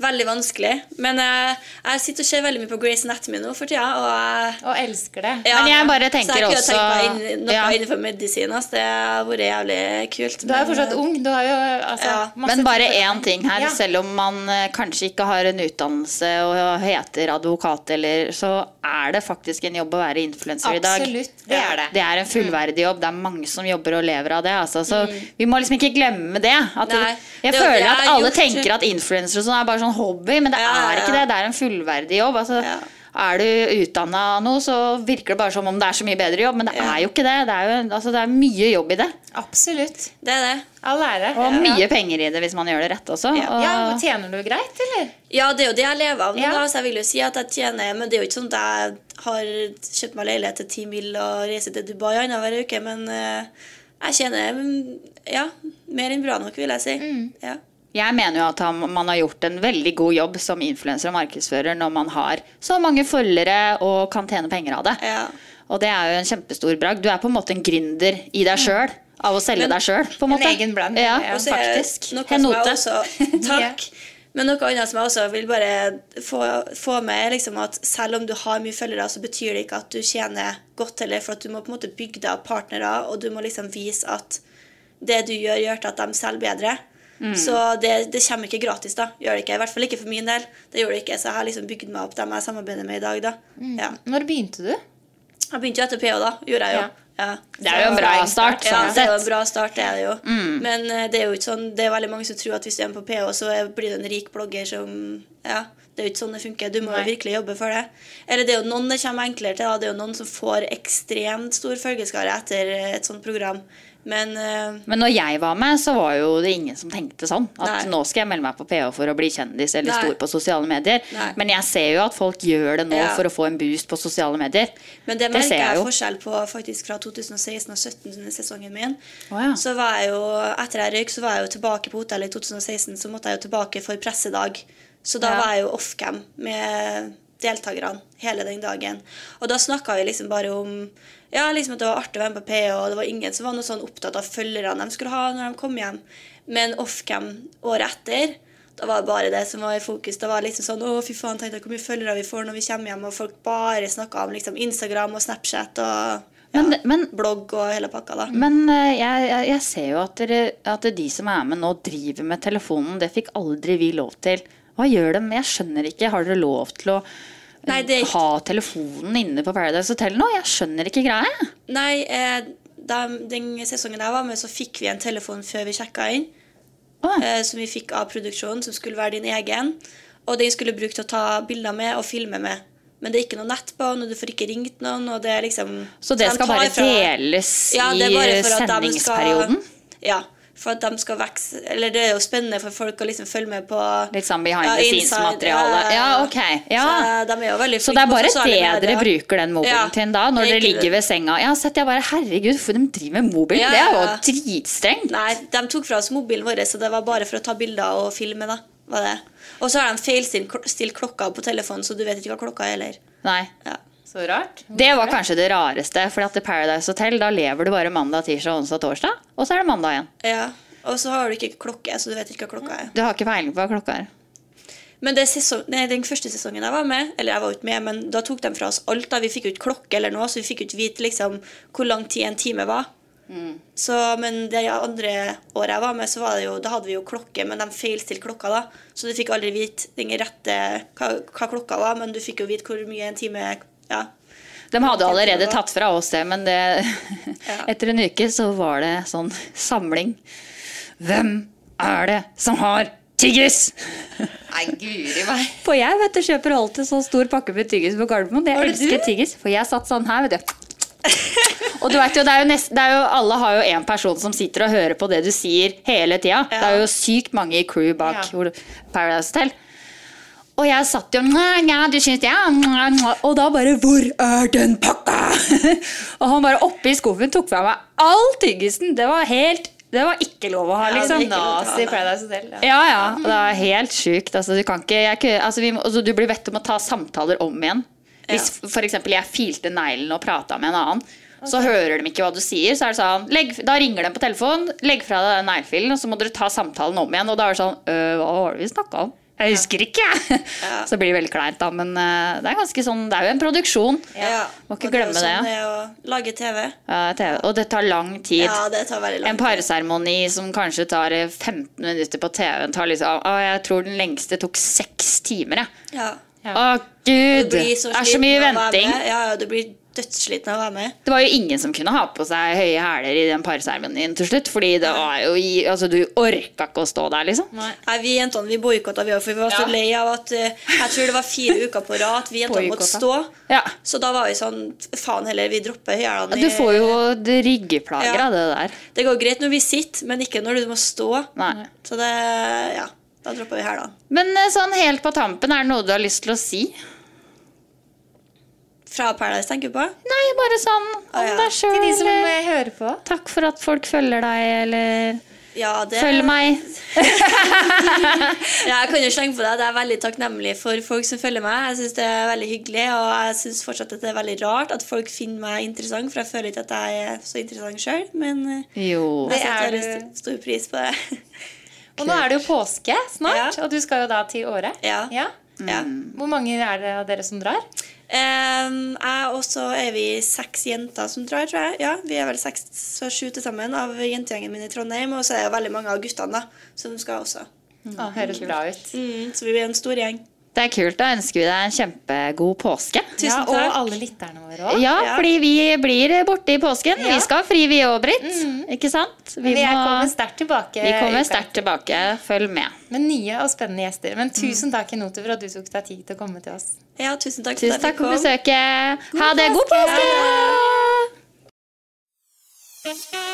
S5: veldig vanskelig. Men eh, jeg sitter og ser veldig mye på Grace Anatomy nå for tida, og jeg
S3: Og elsker det.
S5: ja,
S2: Men jeg bare tenker
S5: så jeg kunne
S2: også-
S5: tenkt meg inn, noe
S2: Ja.
S5: innenfor medisin. ass. Det har vært jævlig kult.
S3: Du er jo
S5: men- eh,
S3: fortsatt ung. Du har jo altså,
S5: Ja.
S3: masse
S2: Men bare
S3: tid for-
S2: én ting her.
S3: Ja.
S2: Selv om man eh, kanskje ikke har en utdannelse og heter advokat, eller, så er det faktisk en jobb å være influenser i dag.
S3: Absolutt, det er det.
S2: Det er en fullverdig jobb. Det er mange som jobber og lever av det. Altså. Så vi må liksom ikke glemme det. At
S5: Mm. Nei,
S2: jeg
S5: det er jo
S2: føler at
S5: det jeg har
S2: alle
S5: gjort.
S2: tenker at influensere og sånn er bare sånn hobby, men det
S5: Ja, ja,
S2: er ikke
S5: ja.
S2: det. Det er en fullverdig jobb. Altså,
S5: Ja.
S2: Er du utdanna noe, så virker det bare som om det er så mye bedre jobb, men det er jo ikke det. Det er, jo, altså, det er mye jobb i det,
S3: Absolutt.
S5: Det er det.
S3: All ære.
S2: og mye penger i det hvis man gjør det rett også. Og,
S3: Ja, og Tjener du greit, eller?
S5: Ja, det er jo det jeg lever av nå,
S3: Ja.
S5: da, så jeg vil jo si at jeg tjener Men det er jo ikke sånn at jeg har kjøpt meg leilighet til 10 mil og reiser til Dubai annenhver uke, men eh, jeg tjener mm, ja, mer enn bra nok, vil jeg si. Ja.
S2: Jeg mener jo at han, man har gjort en veldig god jobb som influenser og markedsfører når man har så mange følgere og kan tjene penger av det.
S5: Ja.
S2: Og det er jo en kjempestor bragd. Du er på en måte en gründer i deg sjøl. Av å selge deg sjøl, på en
S3: en
S2: måte.
S3: egen brand,
S2: Ja,
S3: ja.
S5: Og så er det
S2: faktisk.
S5: [laughs] Noe som jeg
S2: Henote.
S5: også, takk. Men noe annet som jeg også vil bare få, få med, er liksom at selv om du har mye følgere, så betyr det ikke at du tjener godt heller, for at du må på en måte bygge deg opp partnere, og du må liksom vise at det du gjør, gjør til at de selger bedre. Så det, det kommer ikke gratis, da. Gjør det ikke. I hvert fall ikke for min del. Det gjorde det ikke, så jeg har liksom bygd meg opp dem jeg samarbeider med i dag, da. Ja.
S3: Når begynte du?
S5: Jeg begynte jo etter PH, da. Gjorde jeg jo.
S3: Ja.
S5: Ja.
S2: Det er jo en bra start,
S5: Ja,
S2: sånn
S5: det er jo en
S2: sett. Mm.
S5: bra start, det er det jo. Men eh, det er jo ikke sånn, det er veldig mange som tror at hvis du er med på PH, så er- blir du en rik blogger som Ja, det er jo ikke sånn det funker. Du må jo virkelig jobbe for det. Eller det er jo noen det kommer enklere til. Da. Det er jo noen som får ekstremt stor følgeskare etter eh, et sånt program. Men eh,
S2: Men når jeg var med, så var jo det ingen som tenkte sånn. At
S5: Nei.
S2: nå skal jeg melde meg på PH for å bli kjendis eller
S5: Nei.
S2: stor på sosiale medier.
S5: Nei.
S2: Men jeg ser jo at folk gjør det nå
S5: Ja.
S2: for å få en boost på sosiale medier.
S5: Men det merker
S2: ser
S5: jeg,
S2: jeg jo.
S5: forskjell på faktisk fra 2016 og 2017, sesongen min.
S2: Å ja.
S5: Så var jeg jo, Etter jeg røyk, så var jeg jo tilbake på hotellet i 2016. Så måtte jeg jo tilbake for pressedag. Så da
S2: Ja.
S5: var jeg jo offcam med deltakerne hele den dagen. Og da snakka vi liksom bare om ja, liksom at det var artig å være med på PH, og det var ingen som var noe sånn opptatt av følgerne de skulle ha når de kom hjem. Men offcam året etter da var det bare det som var i fokus. Det var liksom sånn, å fy faen, tenk deg hvor mye følgere vi får når vi kommer hjem, og folk bare snakker om liksom, Instagram og Snapchat og ja,
S2: Men, men,
S5: blogg og hele pakka. da.
S2: men eh, jeg, jeg- jeg ser jo at, dere, at de som er med nå, driver med telefonen. Det fikk aldri vi lov til. Hva gjør de? Jeg skjønner ikke. Har dere lov til å eh,
S5: Nei, det er ikke-
S2: ha telefonen inne på Paradise Hotel nå? Jeg skjønner ikke greia. jeg.
S5: Nei, eh, da, den sesongen jeg var med, så fikk vi en telefon før vi sjekka inn,
S2: Å,
S5: eh, som vi fikk av produksjonen, som skulle være din egen. Og den skulle bruke til å ta bilder med og filme med. Men det er ikke noe nett på, og du får ikke ringt noen. og det er liksom...
S2: Så det
S5: de
S2: skal
S5: tar
S2: bare
S5: fra deg.
S2: deles
S5: Ja, det er bare
S2: i
S5: for at de
S2: sendingsperioden?
S5: Skal, ja, for at de skal vokse Eller det er jo spennende for folk å liksom følge med på
S2: Litt sånn behind the
S5: inside,
S2: scenes-materiale. Ja, ok. Ja.
S5: Så eh, de er jo veldig
S2: Så det
S5: flinke
S2: er
S5: på
S2: bare det
S5: sosiale
S2: dere
S5: medier.
S2: bruker den mobilen
S5: Ja,
S2: til da? Når
S5: det er
S2: dere
S5: ikke-
S2: ligger ved senga? Jeg har sett jeg bare Herregud, for de driver med mobil!
S5: Ja,
S2: Det er jo
S5: ja.
S2: dritstrengt!
S5: Nei, de tok fra oss mobilen vår, så det var bare for å ta bilder og filme, da. Var det. Og så har de feilstilt klokka på telefonen, så du vet ikke hva klokka er heller.
S2: Nei.
S5: Ja.
S3: Så rart.
S2: Det var kanskje det rareste, for at i Paradise Hotel da lever du bare mandag, tirsdag, onsdag, torsdag, og så er det mandag igjen.
S5: ja. Og så har du ikke klokke, så du vet ikke hva klokka er.
S2: Du har ikke peiling på hva klokka er.
S5: Men det sesong, nei, den første sesongen jeg var med, eller jeg var jo ikke med, men da tok de fra oss alt. da Vi fikk jo ikke klokke eller noe, så vi fikk jo ikke vite liksom, hvor lang tid en time var. Så, men det andre året jeg var med, så var det jo, da hadde vi jo klokke, men de feilstilte klokka. da. Så du fikk aldri vite den rette hva, hva klokka var, men du fikk jo vite hvor mye en time ja.
S2: De hadde allerede tatt fra oss det, men det,
S5: Ja.
S2: [laughs] etter en uke så var det sånn samling. Hvem er det som har tyggis? [laughs]
S3: Nei, guri meg.
S2: For jeg vet du, kjøper alltid sånn stor pakke med tyggis på Gardermoen. Jeg elsker tyggis, for jeg satt sånn her, vet du. Og du vet jo, det er jo nest, det er jo, Alle har jo en person som sitter og hører på det du sier hele tida. Det er jo sykt mange i crew bak
S3: Ja.
S2: hvor- Paradise Hotel. Og jeg satt jo «Nja, nja, du synes jeg, nja, nja», Og da bare Hvor er den pakka? [laughs] og han bare oppe i skuffen tok fra meg all tyggisen. Det var helt Det var ikke lov å ha, liksom.
S3: Nazi Paradise Hotel. Ja.
S2: Ja, ja. og Det er helt sjukt. Altså, du, kan ikke, jeg, kan- altså, vi, må- altså, du blir bedt om å ta samtaler om igjen. Hvis f- for eksempel jeg filte neglen og prata med en annen, så hører de ikke hva du sier. Så er det sånn, legg, da ringer de på telefonen, legg fra deg den neglefilen, og så må dere ta samtalen om igjen. Og da er det sånn øh, Hva var det vi snakka om? Jeg husker ikke! [laughs] Så det blir veldig kleint, da. Men øh, det er ganske sånn, det er jo en produksjon.
S5: Ja.
S2: Må ikke
S5: Og det er jo
S2: glemme
S5: sånn
S2: det.
S5: det å lage TV.
S2: Ja, TV. Og det tar lang tid.
S5: Ja, det tar veldig
S2: En
S5: lang tid.
S2: parseremoni som kanskje tar eh, 15 minutter på TV-en, tar liksom Å, jeg tror den lengste tok seks timer, jeg.
S5: Ja.
S2: Å, gud!
S5: Du
S2: Det
S5: blir så
S2: er så mye
S5: sliten av å være
S2: venting.
S5: med. Ja, ja, du blir dødssliten av å være med.
S2: Det var jo ingen som kunne ha på seg høye hæler i den parseremonien til slutt, fordi det var jo i Altså, du orka ikke å stå der, liksom.
S5: Nei, Vi jentene vi boikotta, vi òg, for vi var så lei av at eh, Jeg tror det var
S2: [laughs]
S5: fire uker på rad at vi jentene måtte stå.
S2: Boykottet. Ja.
S5: Så da var vi sånn Faen heller, vi dropper hælene
S2: Du får jo det ryggeplager
S5: Ja.
S2: av det der.
S5: Det går greit når vi sitter, men ikke når du må stå.
S2: Nei.
S5: Så det Ja. Da dropper vi hælene.
S2: Men eh, sånn helt på tampen, er det noe du har lyst til å si?
S5: Fra Paradise tenker du på?
S2: Nei, bare sånn
S5: Å,
S2: om
S5: ja.
S2: deg sjøl,
S3: Til de som
S2: eller
S3: eh, hører på.
S2: Takk for at folk følger deg, eller
S5: Ja, det
S2: Følg meg.
S5: Ja, jeg kan jo slenge på deg at jeg er veldig takknemlig for folk som følger meg. Jeg synes det er veldig hyggelig, og jeg synes fortsatt at det er veldig rart at folk finner meg interessant, for jeg føler ikke at jeg er så interessant sjøl, men eh,
S2: Jo.
S5: jeg
S3: er du-
S5: setter veldig st- stor pris på det. [laughs]
S3: Og nå er det jo påske snart,
S5: Ja.
S3: og du skal jo da til Åre.
S5: Ja. Ja.
S3: Hvor mange er det av dere som drar?
S5: Ehm, jeg og så er vi seks jenter som drar, tror jeg. Ja, Vi er vel seks så sju til sammen av jentegjengen min i Trondheim. Og så er det veldig mange av guttene da, som skal også.
S3: Å, høres bra ut.
S5: Mm, så vi blir en stor gjeng.
S2: Det er kult. Da ønsker vi deg en kjempegod påske.
S3: Ja,
S5: Tusen
S3: og
S5: takk.
S3: alle lytterne våre òg.
S2: Ja,
S5: Ja.
S2: fordi vi blir borte i påsken.
S3: Ja. Mm.
S2: Vi skal ha fri, vi òg, Britt. Ikke sant? Vi,
S3: Jeg
S2: må-
S3: kommer sterkt tilbake.
S2: vi
S3: i
S2: kommer
S3: uka.
S2: sterkt tilbake. Følg med.
S3: Med nye og spennende gjester. Men tusen takk, Inoto, for at du tok deg tid til å komme til oss.
S5: Ja, tusen takk
S2: Tusen
S5: at jeg
S2: takk for
S5: fikk komme.
S2: besøket. Ha det! God påske!